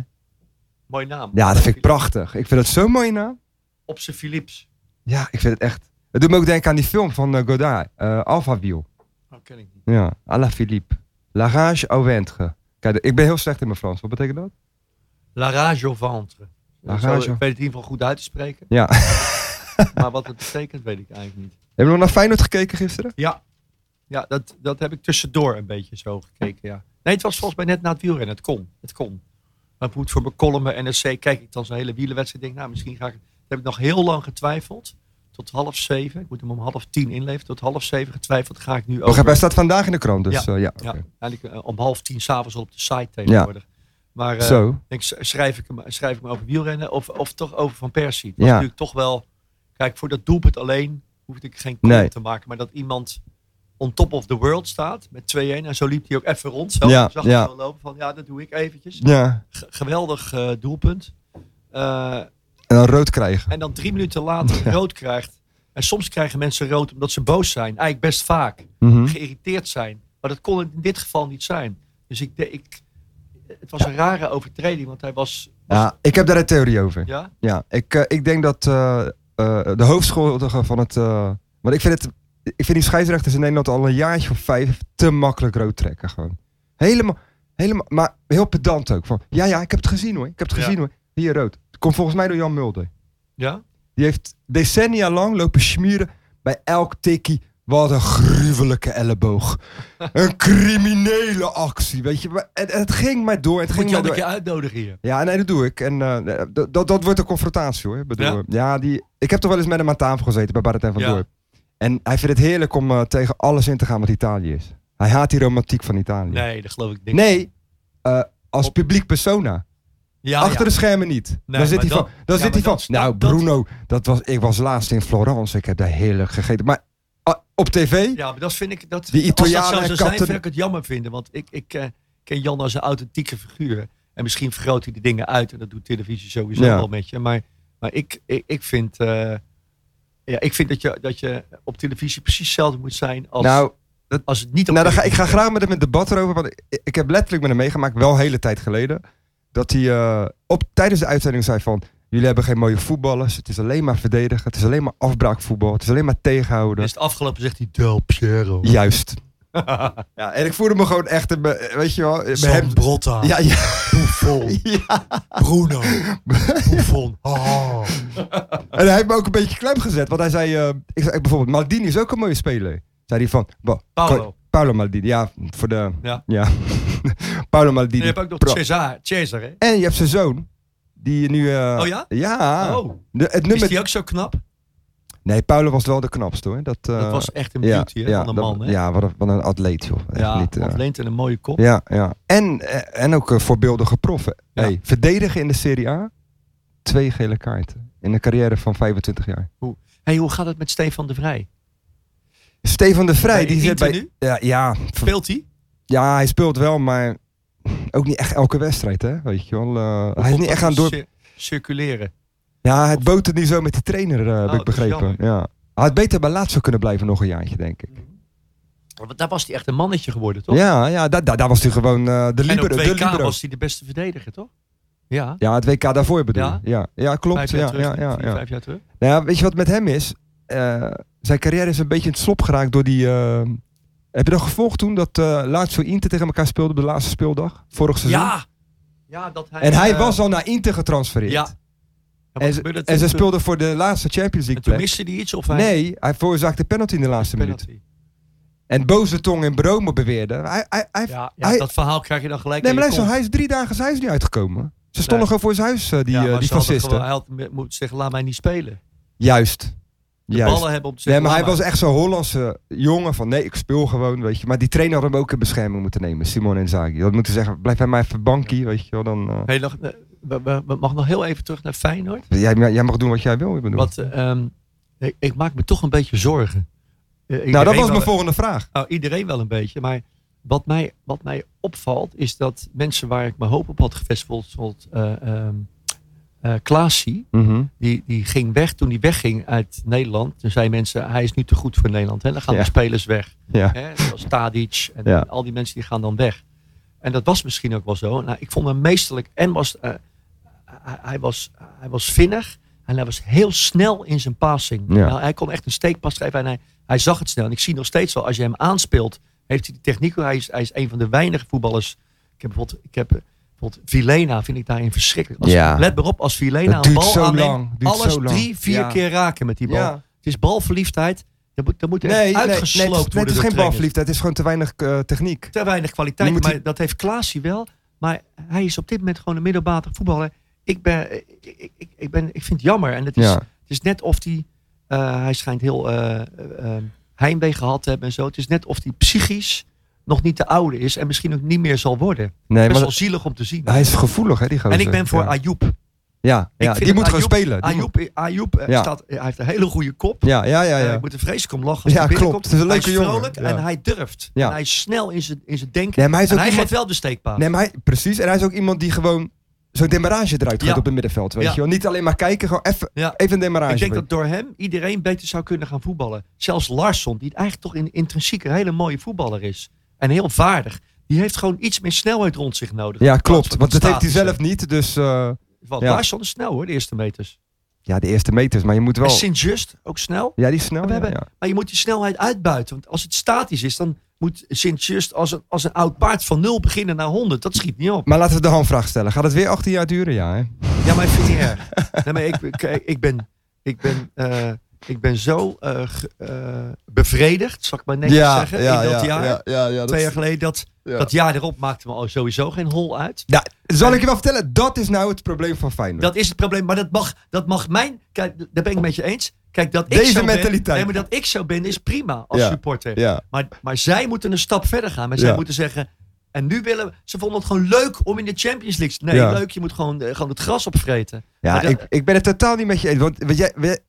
S2: Mooi naam.
S1: Ja, dat vind ik
S2: Alaphilippe.
S1: prachtig. Ik vind het zo'n mooie naam.
S2: Op zijn Philips.
S1: Ja, ik vind het echt. Het doet me ook denken aan die film van eh, Godard, eh Alpha Wiel.
S2: Oh, ken ik niet.
S1: Ja, à la Philippe. La rage au ventre. Kijk, ik ben heel slecht in mijn Frans. Wat betekent dat?
S2: La Rage au Ventre.
S1: La
S2: Zo,
S1: Rage au-
S2: Ik weet het in ieder geval goed uit te spreken.
S1: Ja.
S2: maar wat het betekent, weet ik eigenlijk niet.
S1: Hebben we nog naar Feyenoord gekeken gisteren?
S2: Ja, ja dat, dat heb ik tussendoor een beetje zo gekeken. Ja. Nee, het was volgens mij net na het wielrennen. Het kon. Het kon. Maar goed, voor mijn column bij NSC kijk ik dan zo'n hele wielerwedstrijd. Ik Denk, nou, misschien ga ik. Daar heb ik nog heel lang getwijfeld. Tot half zeven. Ik moet hem om half tien inleveren. Tot half zeven getwijfeld ga ik nu
S1: Oh,
S2: over.
S1: hij staat vandaag in de krant, dus
S2: Ja.
S1: eh, ja.
S2: Ja,
S1: oké.
S2: eigenlijk eh, om half tien s'avonds al op de site tegenwoordig. Maar eh,
S1: Zo.
S2: denk, s- schrijf, ik hem, schrijf ik hem over wielrennen of, of toch over Van Persie. Het
S1: Ja.
S2: was natuurlijk toch wel... Kijk, voor dat doelpunt alleen hoefde ik geen comment
S1: Nee.
S2: te maken. Maar dat iemand on top of the world staat met 2-1. En zo liep hij ook even rond. Zo
S1: Ja,
S2: zag
S1: ja.
S2: hij wel lopen van ja, dat doe ik eventjes.
S1: Ja.
S2: G- geweldig eh, doelpunt. Eh,
S1: En dan rood krijgen.
S2: en dan drie minuten
S1: [LAUGHS]
S2: later rood krijgt. En soms krijgen mensen rood omdat ze boos zijn. Eigenlijk best vaak
S1: Mhm.
S2: geïrriteerd zijn. Maar dat kon het in dit geval niet zijn. Dus ik, de- ik, het was een rare overtreding, want hij was. was-
S1: Ja, ik heb daar een theorie over.
S2: ja?
S1: Ja, ik, eh, ik denk dat eh, eh, de hoofdschuldige van het... eh, want ik vind, het, ik vind die scheidsrechters in Nederland al een jaartje of vijf te makkelijk rood trekken. Gewoon. Helemaal, helemaal, maar heel pedant ook. Van, ja, ja, ik heb het gezien hoor. Ik heb het
S2: Ja.
S1: gezien hoor. Hier rood. Komt volgens mij door Jan Mulder.
S2: ja?
S1: Die heeft decennia lang lopen schmieren bij elk tikkie. Wat een gruwelijke
S2: [LAUGHS]
S1: elleboog. Een criminele actie, weet je. Maar het, het ging maar door, het ging
S2: Moet je
S1: maar
S2: al een
S1: door.
S2: keer uitnodigen hier?
S1: Ja, nee, dat doe ik. En eh, dat- dat, dat wordt een confrontatie hoor. Ik Bedoel, eh, ja.
S2: Ja.
S1: die, ik heb toch wel eens met hem aan tafel gezeten bij Barretijn van
S2: Ja.
S1: Dorp. En hij vindt het heerlijk om eh, tegen alles in te gaan wat Italië is. Hij haat die romantiek van Italië.
S2: Nee, dat geloof ik niet.
S1: Nee, eh, als publiek persona.
S2: ja,
S1: Achter
S2: ja.
S1: de schermen niet. dan
S2: maar
S1: zit hij
S2: dan-
S1: van, dan
S2: ja,
S1: zit hij
S2: maar
S1: van
S2: dat-
S1: nou
S2: dat-
S1: Bruno, dat was, ik was laatst in Florence. Ik heb daar heerlijk gegeten. Maar ah, op tv?
S2: ja, maar dat vind ik. Dat,
S1: Die
S2: als dat
S1: Italianen
S2: zo zou zijn,
S1: kapten-
S2: zou ik het jammer vinden. Want ik, ik eh, ken Jan als een authentieke figuur. En misschien vergroot hij de dingen uit. En dat doet televisie sowieso
S1: Ja.
S2: wel met je. Maar, maar ik, ik, ik vind. eh, ja, ik vind dat je, dat je op televisie precies hetzelfde moet zijn als,
S1: nou,
S2: als het niet op
S1: Nou, dan ga, ik
S2: televisie
S1: ga graag met hem in debat erover. Want ik, ik heb letterlijk met hem meegemaakt, wel een hele tijd geleden. Dat hij eh, op, tijdens de uitzending zei van... Jullie hebben geen mooie voetballers. Het is alleen maar verdedigen. Het is alleen maar afbraakvoetbal. Het is alleen maar tegenhouden.
S2: is het afgelopen, zegt hij [LAUGHS] Del Piero.
S1: Juist. Ja, en ik voelde me gewoon echt... in mijn- Weet je wel... in mijn hem-
S2: Brotta.
S1: Ja, ja,
S2: Buffon,
S1: ja. [LAUGHS]
S2: Bruno, Buffon. Oh.
S1: En hij heeft me ook een beetje klem gezet. Want hij zei... eh, ik zei bijvoorbeeld, Maldini is ook een mooie speler. Zei hij van... "Bo,
S2: Paolo.
S1: Paolo Maldini. Ja, voor de... Ja. [LAUGHS]
S2: Ja.
S1: Paolo Maldini.
S2: je hebt ook nog
S1: Pro.
S2: Cesar, Cesar hè?
S1: En je hebt zijn zoon. Die nu... eh,
S2: Oh ja?
S1: Ja.
S2: Oh,
S1: De, het
S2: is
S1: nummer...
S2: die ook zo knap?
S1: Nee, Paulo was wel de knapste hoor. Dat, eh,
S2: Dat was echt een beauty hè, van een
S1: dat-
S2: man. Hè?
S1: Ja, wat een, wat een atleet joh. Echt
S2: ja
S1: niet, eh,
S2: ontleend en een mooie kop.
S1: ja, ja. En, eh, en ook eh, voorbeeldige proffen.
S2: Ja.
S1: Hey, verdedigen in de Serie A. Twee gele kaarten. In een carrière van 25 jaar.
S2: Hey, hoe gaat het met Stefan de Vrij?
S1: Stefan de Vrij,
S2: Bij
S1: die zit
S2: Inter
S1: bij...
S2: nu?
S1: Ja, ja, ver-
S2: Speelt hij?
S1: ja, hij speelt wel, maar ook niet echt elke wedstrijd hè. Weet je wel. eh, hij is niet echt aan door...
S2: Cir- circuleren.
S1: Ja, het boot het niet zo met die trainer, eh, heb
S2: Oh, dat
S1: ik
S2: is
S1: begrepen.
S2: jammer.
S1: Ja. Hij had beter bij Lazio kunnen blijven nog een jaartje, denk ik.
S2: Want daar was hij echt een mannetje geworden, toch?
S1: Ja, ja da- da- daar was hij gewoon eh, de
S2: en op
S1: libero. de
S2: WK
S1: libero.
S2: was hij de beste verdediger, toch? Ja,
S1: Ja, het WK daarvoor bedoel je?
S2: Ja?
S1: Ja, ja klopt.
S2: vijf jaar
S1: Ja,
S2: terug.
S1: ja, ja,
S2: vier,
S1: ja.
S2: Vijf jaar terug.
S1: Nou ja, weet je wat met hem is? Eh, zijn carrière is een beetje in het slop geraakt door die... eh, heb je dat gevolgd toen dat eh Lazio Inter tegen elkaar speelde op de laatste speeldag? Vorig seizoen?
S2: Ja! ja dat hij,
S1: En hij
S2: eh,
S1: was al naar Inter getransfereerd.
S2: Ja. En,
S1: En,
S2: wat
S1: ze-
S2: gebeurde
S1: en ze
S2: toen?
S1: speelden voor de laatste Champions
S2: En
S1: League
S2: toen
S1: plek.
S2: miste hij iets of hij...
S1: Nee, hij veroorzaakte penalty in de laatste minuut.
S2: Penalty.
S1: En boze tong in Brome beweerde. Hij, hij, hij,
S2: Ja, ja
S1: Hij-
S2: dat verhaal krijg je dan gelijk.
S1: nee,
S2: aan
S1: maar
S2: je
S1: luister, hij
S2: kont.
S1: is drie dagen zijn huis niet uitgekomen. Ze stonden
S2: Nee.
S1: gewoon voor zijn huis, eh, die,
S2: Ja,
S1: eh,
S2: maar
S1: die
S2: ze hadden
S1: fascisten.
S2: gewoon- Hij had me- moeten zeggen, laat mij niet spelen.
S1: Juist.
S2: De
S1: Juist.
S2: ballen hebben om te
S1: Nee,
S2: zeggen,
S1: maar hij
S2: laat
S1: was echt zo'n Hollandse jongen van nee, ik speel gewoon, weet je. Maar die trainer had hem ook in bescherming moeten nemen, Simon en Zagi. Dat moeten zeggen, blijf bij mij even bankie, weet je wel. Dan, eh,
S2: mij. Hey, nog, eh, we, we- we mag nog heel even terug naar Feyenoord.
S1: jij, jij mag doen wat jij wil, ik bedoel.
S2: Want eh, ehm, ik, ik maak me toch een beetje zorgen. Eh,
S1: nou,
S2: iedereen
S1: dat was
S2: wel-
S1: mijn volgende vraag.
S2: nou, iedereen wel een beetje. Maar wat mij, wat mij opvalt is dat mensen waar ik mijn hoop op had gevestigd, bijvoorbeeld eh, ehm, eh, Klaasie, die, die ging weg toen hij wegging uit Nederland. Toen zeiden mensen, hij is nu te goed voor Nederland. Hè? Dan gaan
S1: Ja.
S2: de spelers weg.
S1: Ja.
S2: Hè? Zoals Tadic en
S1: Ja.
S2: al die mensen die gaan dan weg. En dat was misschien ook wel zo. Nou, ik vond hem meesterlijk en was, eh, hij, hij was, hij was vinnig. En hij was heel snel in zijn passing.
S1: Ja.
S2: Nou, hij kon echt een steekpas geven en hij, hij zag het snel. En ik zie nog steeds wel, als je hem aanspeelt, heeft hij die techniek. Hij is, hij is een van de weinige voetballers. Ik heb bijvoorbeeld, ik heb, eh, bijvoorbeeld Vilena, vind ik daarin verschrikkelijk. Als,
S1: Ja.
S2: Let maar op, als Vilena
S1: Dat
S2: een
S1: duurt
S2: bal
S1: zo
S2: aanneemt,
S1: lang, duurt
S2: alles
S1: zo lang.
S2: drie, vier
S1: Ja.
S2: keer raken met die bal.
S1: Ja.
S2: Het is balverliefdheid. Dat moet, dat moet er echt uitgesloopt
S1: nee, het is, nee,
S2: worden
S1: het is
S2: door
S1: geen
S2: trainers.
S1: balverliefdheid. Het is gewoon te weinig eh, techniek.
S2: Te weinig
S1: Je
S2: kwaliteit.
S1: moet
S2: Maar
S1: die-
S2: dat heeft Klaasie wel. Maar hij is op dit moment gewoon een middelmatig voetballer. Ik, ben, eh, ik, ik, ik- ik, ben, ik vind het jammer. En het is,
S1: Ja.
S2: het is net of die, eh, hij schijnt heel eh, eh, eh, heimwee gehad te hebben en zo. Het is net of die psychisch nog niet te oude is en misschien ook niet meer zal worden.
S1: Nee,
S2: Best
S1: maar
S2: wel zielig om te zien.
S1: hij is gevoelig, hè, die gozer.
S2: En ik ben voor
S1: Ja,
S2: Ayoub.
S1: ja, ja,
S2: vind
S1: die
S2: dat
S1: moet gewoon
S2: Ayoub-
S1: spelen. Die moet-
S2: Ayoub, Ayoub eh,
S1: Ja.
S2: staat, hij heeft een hele goede kop.
S1: Ja, ja, ja.
S2: Eh,
S1: ja.
S2: ik moet er vreselijk om lachen als
S1: Ja,
S2: hij
S1: klopt.
S2: binnenkomt.
S1: Het is een leuke
S2: hij is
S1: jongen.
S2: vrolijk
S1: Ja.
S2: en hij durft.
S1: Ja.
S2: En hij is snel in zijn, in zijn denken.
S1: Nee, maar hij is
S2: en
S1: ook
S2: hij
S1: iemand...
S2: geeft wel de steekpaal.
S1: Nee, maar hij, precies. En hij is ook iemand die gewoon zo'n demarage eruit gaat
S2: Ja.
S1: op het middenveld. Weet
S2: Ja.
S1: je wel. Niet alleen maar kijken, gewoon even,
S2: Ja.
S1: even een demarage.
S2: Ik denk
S1: brengen.
S2: dat door hem iedereen beter zou kunnen gaan voetballen. Zelfs Larsson, die eigenlijk toch in, intrinsiek een hele mooie voetballer is. En heel vaardig. Die heeft gewoon iets meer snelheid rond zich nodig.
S1: Ja,
S2: In plaats
S1: klopt.
S2: van
S1: Want dat heeft hij zelf
S2: statische.
S1: niet. Dus eh,
S2: Want
S1: Ja.
S2: Larsson is snel hoor, de eerste meters.
S1: ja, de eerste meters. Maar je moet
S2: En
S1: wel...
S2: Sint-Just ook snel.
S1: Ja, die is snel.
S2: We
S1: ja,
S2: hebben-
S1: ja.
S2: Maar je moet die snelheid uitbuiten. Want als het statisch is, dan moet Sint-Just als een, als een oud paard van nul beginnen naar 100. Dat schiet niet op.
S1: Maar laten we de handvraag stellen. Gaat het weer 18 jaar duren? Ja, hè?
S2: Ja, maar ik vind het niet erg. Nee, maar ik, ik, ik ben, ik ben, eh, ik ben zo eh, ge- eh, bevredigd, zal ik maar netjes zeggen, in dat jaar.
S1: ja, ja,
S2: Twee jaar geleden, dat,
S1: ja.
S2: dat jaar erop maakte me al sowieso geen hol uit.
S1: Ja, zal ik je wel vertellen? Dat is nou het probleem van Feyenoord.
S2: Dat is het probleem, maar dat mag, dat mag mijn... Kijk, daar ben ik met je eens. Kijk, dat ik
S1: Deze
S2: zo Ben,
S1: mentaliteit.
S2: nee, maar dat ik zo ben is prima als
S1: Ja,
S2: supporter.
S1: ja.
S2: Maar, maar zij moeten een stap verder gaan. Maar zij
S1: Ja.
S2: moeten zeggen... En nu willen we- Ze vonden het gewoon leuk om in de Champions League... Nee,
S1: Ja.
S2: leuk, je moet gewoon, eh, gewoon het gras opvreten.
S1: Ja,
S2: Maar dat-
S1: ik, ik ben het totaal niet met je eens. Want weet jij, we-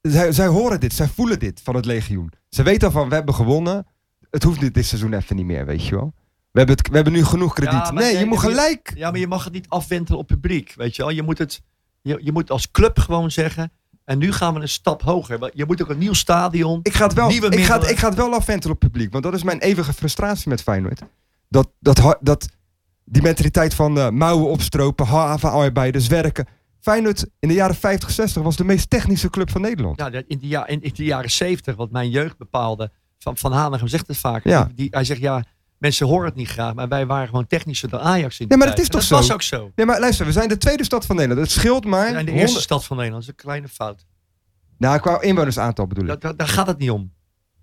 S1: zij, zij horen dit, zij voelen dit van het legioen. Ze weten al van, we hebben gewonnen. Het hoeft dit, dit seizoen even niet meer, weet je wel. We hebben, het, we hebben nu genoeg krediet.
S2: Ja, maar
S1: nee,
S2: jij-
S1: je moet
S2: je-
S1: gelijk...
S2: Ja, maar je mag het niet afwentelen op publiek. Weet je wel, je moet het. Je, je moet als club gewoon zeggen. En nu gaan we een stap hoger. Maar Je moet ook een nieuw stadion.
S1: Ik ga het wel,
S2: Nieuwe
S1: ik ga, het-
S2: middelen.
S1: ik ga het wel afwentelen op het publiek. Want dat is mijn eeuwige frustratie met Feyenoord. Dat, dat, ha- dat die mentaliteit van eh, mouwen opstropen, havenarbeiders, werken. Feyenoord in de jaren 50, 60 was de meest technische club van Nederland.
S2: Ja, dat in, die, ja- in, in die jaren zeventig, wat mijn jeugd bepaalde. Van, van Hanegem zegt het vaak.
S1: Ja.
S2: Die, hij zegt ja, mensen horen het niet graag. Maar wij waren gewoon technischer dan Ajax in die
S1: Ja, maar dat
S2: tijd.
S1: is
S2: En
S1: toch
S2: Dat
S1: zo?
S2: was ook zo.
S1: Nee, maar luister, we zijn de tweede stad van Nederland. Het scheelt maar...
S2: En de eerste
S1: 100
S2: stad van Nederland. Dat is een kleine fout.
S1: Nou, qua inwonersaantal bedoel
S2: Daar,
S1: ik.
S2: daar, daar gaat het niet om.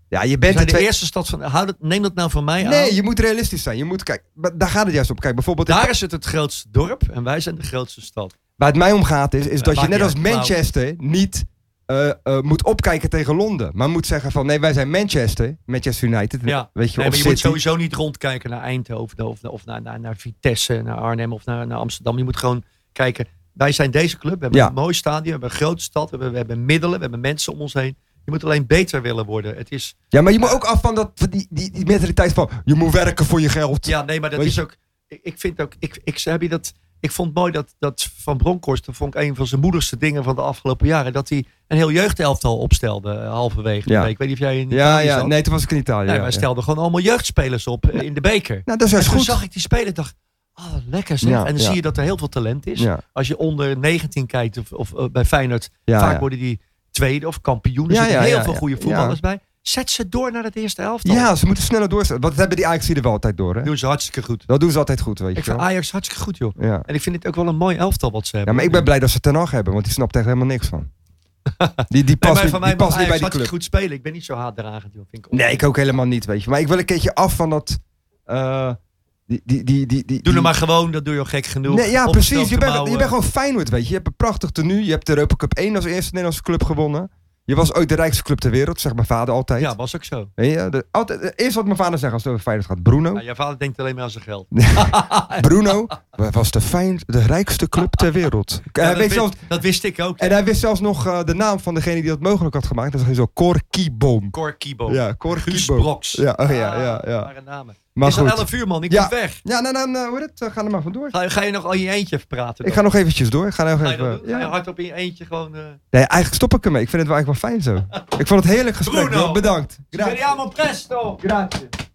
S1: Ja, je
S2: We
S1: bent de
S2: zijn de
S1: twee...
S2: eerste stad van. Houd het, neem dat nou van mij aan.
S1: Nee, je moet realistisch zijn. Je moet, kijk, maar daar gaat het juist om. Kijk, bijvoorbeeld,
S2: Daar is het het grootste dorp. En wij zijn de grootste stad.
S1: waar het mij om gaat is, is
S2: Ja,
S1: dat je
S2: maakt
S1: net
S2: niet
S1: als
S2: uit,
S1: Manchester niet eh, eh, moet opkijken tegen Londen. Maar moet zeggen van, nee, wij zijn Manchester, Manchester United,
S2: Ja.
S1: weet je,
S2: Nee,
S1: of
S2: maar je moet
S1: City.
S2: sowieso niet rondkijken naar Eindhoven of, of naar, naar, naar Vitesse, naar Arnhem of naar, naar Amsterdam. Je moet gewoon kijken. Wij zijn deze club. We hebben
S1: Ja.
S2: een mooi stadion. We hebben een grote stad. We hebben, we hebben middelen. We hebben mensen om ons heen. Je moet alleen beter willen worden. Het is,
S1: Ja, maar je moet ook af van, dat, van die, die, die mentaliteit van, je moet werken voor je geld.
S2: ja, nee, maar dat
S1: Weet
S2: is ook. Ik, ik vind ook. Ik, ik, heb je dat, ik vond het mooi dat, dat Van Bronckhorst. Dat vond ik een van zijn moedigste dingen van de afgelopen jaren. Dat hij een heel jeugdelftal opstelde. eh, Halverwege. de
S1: Ja.
S2: week. Ik weet niet of jij in.
S1: ja,
S2: Italië
S1: ja,
S2: zat.
S1: nee, toen was ik in Italië.
S2: Nee,
S1: ja,
S2: maar hij
S1: ja.
S2: stelde gewoon allemaal jeugdspelers op eh, in de beker.
S1: Nou, dat is
S2: En
S1: juist
S2: toen
S1: goed.
S2: zag ik die speler en dacht, ah, lekker zeg.
S1: Ja,
S2: en dan
S1: ja.
S2: zie je dat er heel veel talent is.
S1: Ja,
S2: Als je onder 19 kijkt of, of eh, bij Feyenoord,
S1: ja,
S2: vaak
S1: ja.
S2: worden die tweede of kampioen. Er
S1: Ja,
S2: zitten
S1: ja,
S2: heel
S1: ja,
S2: veel
S1: ja.
S2: goede voetballers bij. Zet ze door naar het eerste elftal.
S1: ja, ze moeten sneller doorstellen. Want dat hebben die Ajax er wel altijd door, hè?
S2: Doen ze hartstikke goed.
S1: Dat doen ze altijd goed, weet
S2: Ik
S1: je
S2: vind
S1: wel.
S2: Ajax hartstikke goed, joh.
S1: Ja.
S2: En ik vind dit ook wel een mooi elftal wat ze
S1: Ja,
S2: hebben.
S1: maar ik ben blij dat ze Ten Hag hebben, want die snapt echt helemaal niks
S2: [LAUGHS]
S1: van. Die, die
S2: Nee,
S1: past,
S2: maar
S1: niet-
S2: van mij
S1: die
S2: mag
S1: past niet
S2: Ajax
S1: bij die
S2: hartstikke
S1: club.
S2: goed spelen. Ik ben niet zo haatdragend, joh. Vind ik
S1: Nee, ik ook helemaal niet, weet je. Maar ik wil een keertje af van dat... eh, die, die, die, die, die,
S2: Doe het maar gewoon, dat doe je al gek genoeg.
S1: Nee, ja,
S2: Opgestoken
S1: precies. Je bent, je
S2: mouwen.
S1: bent gewoon Feyenoord, weet je. Je hebt een prachtig tenue. Je hebt de Europa Cup 1 als eerste Nederlandse club gewonnen. Je was ooit de rijkste club ter wereld, zegt mijn vader altijd.
S2: Ja, was ook zo.
S1: Weet je, de- altijd het eerste wat mijn vader zegt als het over Feyenoord gaat,
S2: [LAUGHS]
S1: Bruno.
S2: Ja, jouw vader denkt alleen maar aan zijn
S1: Eh,
S2: geld.
S1: Bruno was de, fijn, de rijkste club ter wereld.
S2: Ja,
S1: hij
S2: dat,
S1: weet
S2: wist,
S1: zelfs,
S2: dat wist ik ook.
S1: en hij wist zelfs nog eh, de naam van degene die dat mogelijk had gemaakt. Dat is zo Korkiboom.
S2: Cor Kibo.
S1: Ja, Cor
S2: Guus
S1: Kiebo.
S2: Broks. Ah,
S1: Ja, oh ja, ja, ja.
S2: Rare namen.
S1: Maar
S2: het is
S1: goed.
S2: al 11 uur, man. Ik
S1: Ja.
S2: moet weg.
S1: Ja, nou dan, eh, hoe heet het? Eh, ga er maar vandoor.
S2: Ga, ga je nog al in je eentje even praten?
S1: Ik ga
S2: dan?
S1: nog eventjes door. Ik Ga nog
S2: Ga je, dat
S1: even,
S2: doen? Ga je
S1: ja.
S2: hardop in je eentje gewoon... eh
S1: Nee, eigenlijk stop ik ermee. Ik vind het wel eigenlijk wel fijn zo. Ik vond het heerlijk gesprek.
S2: Bruno.
S1: Bedankt. Graag.
S2: Speriamo presto!
S1: Grazie.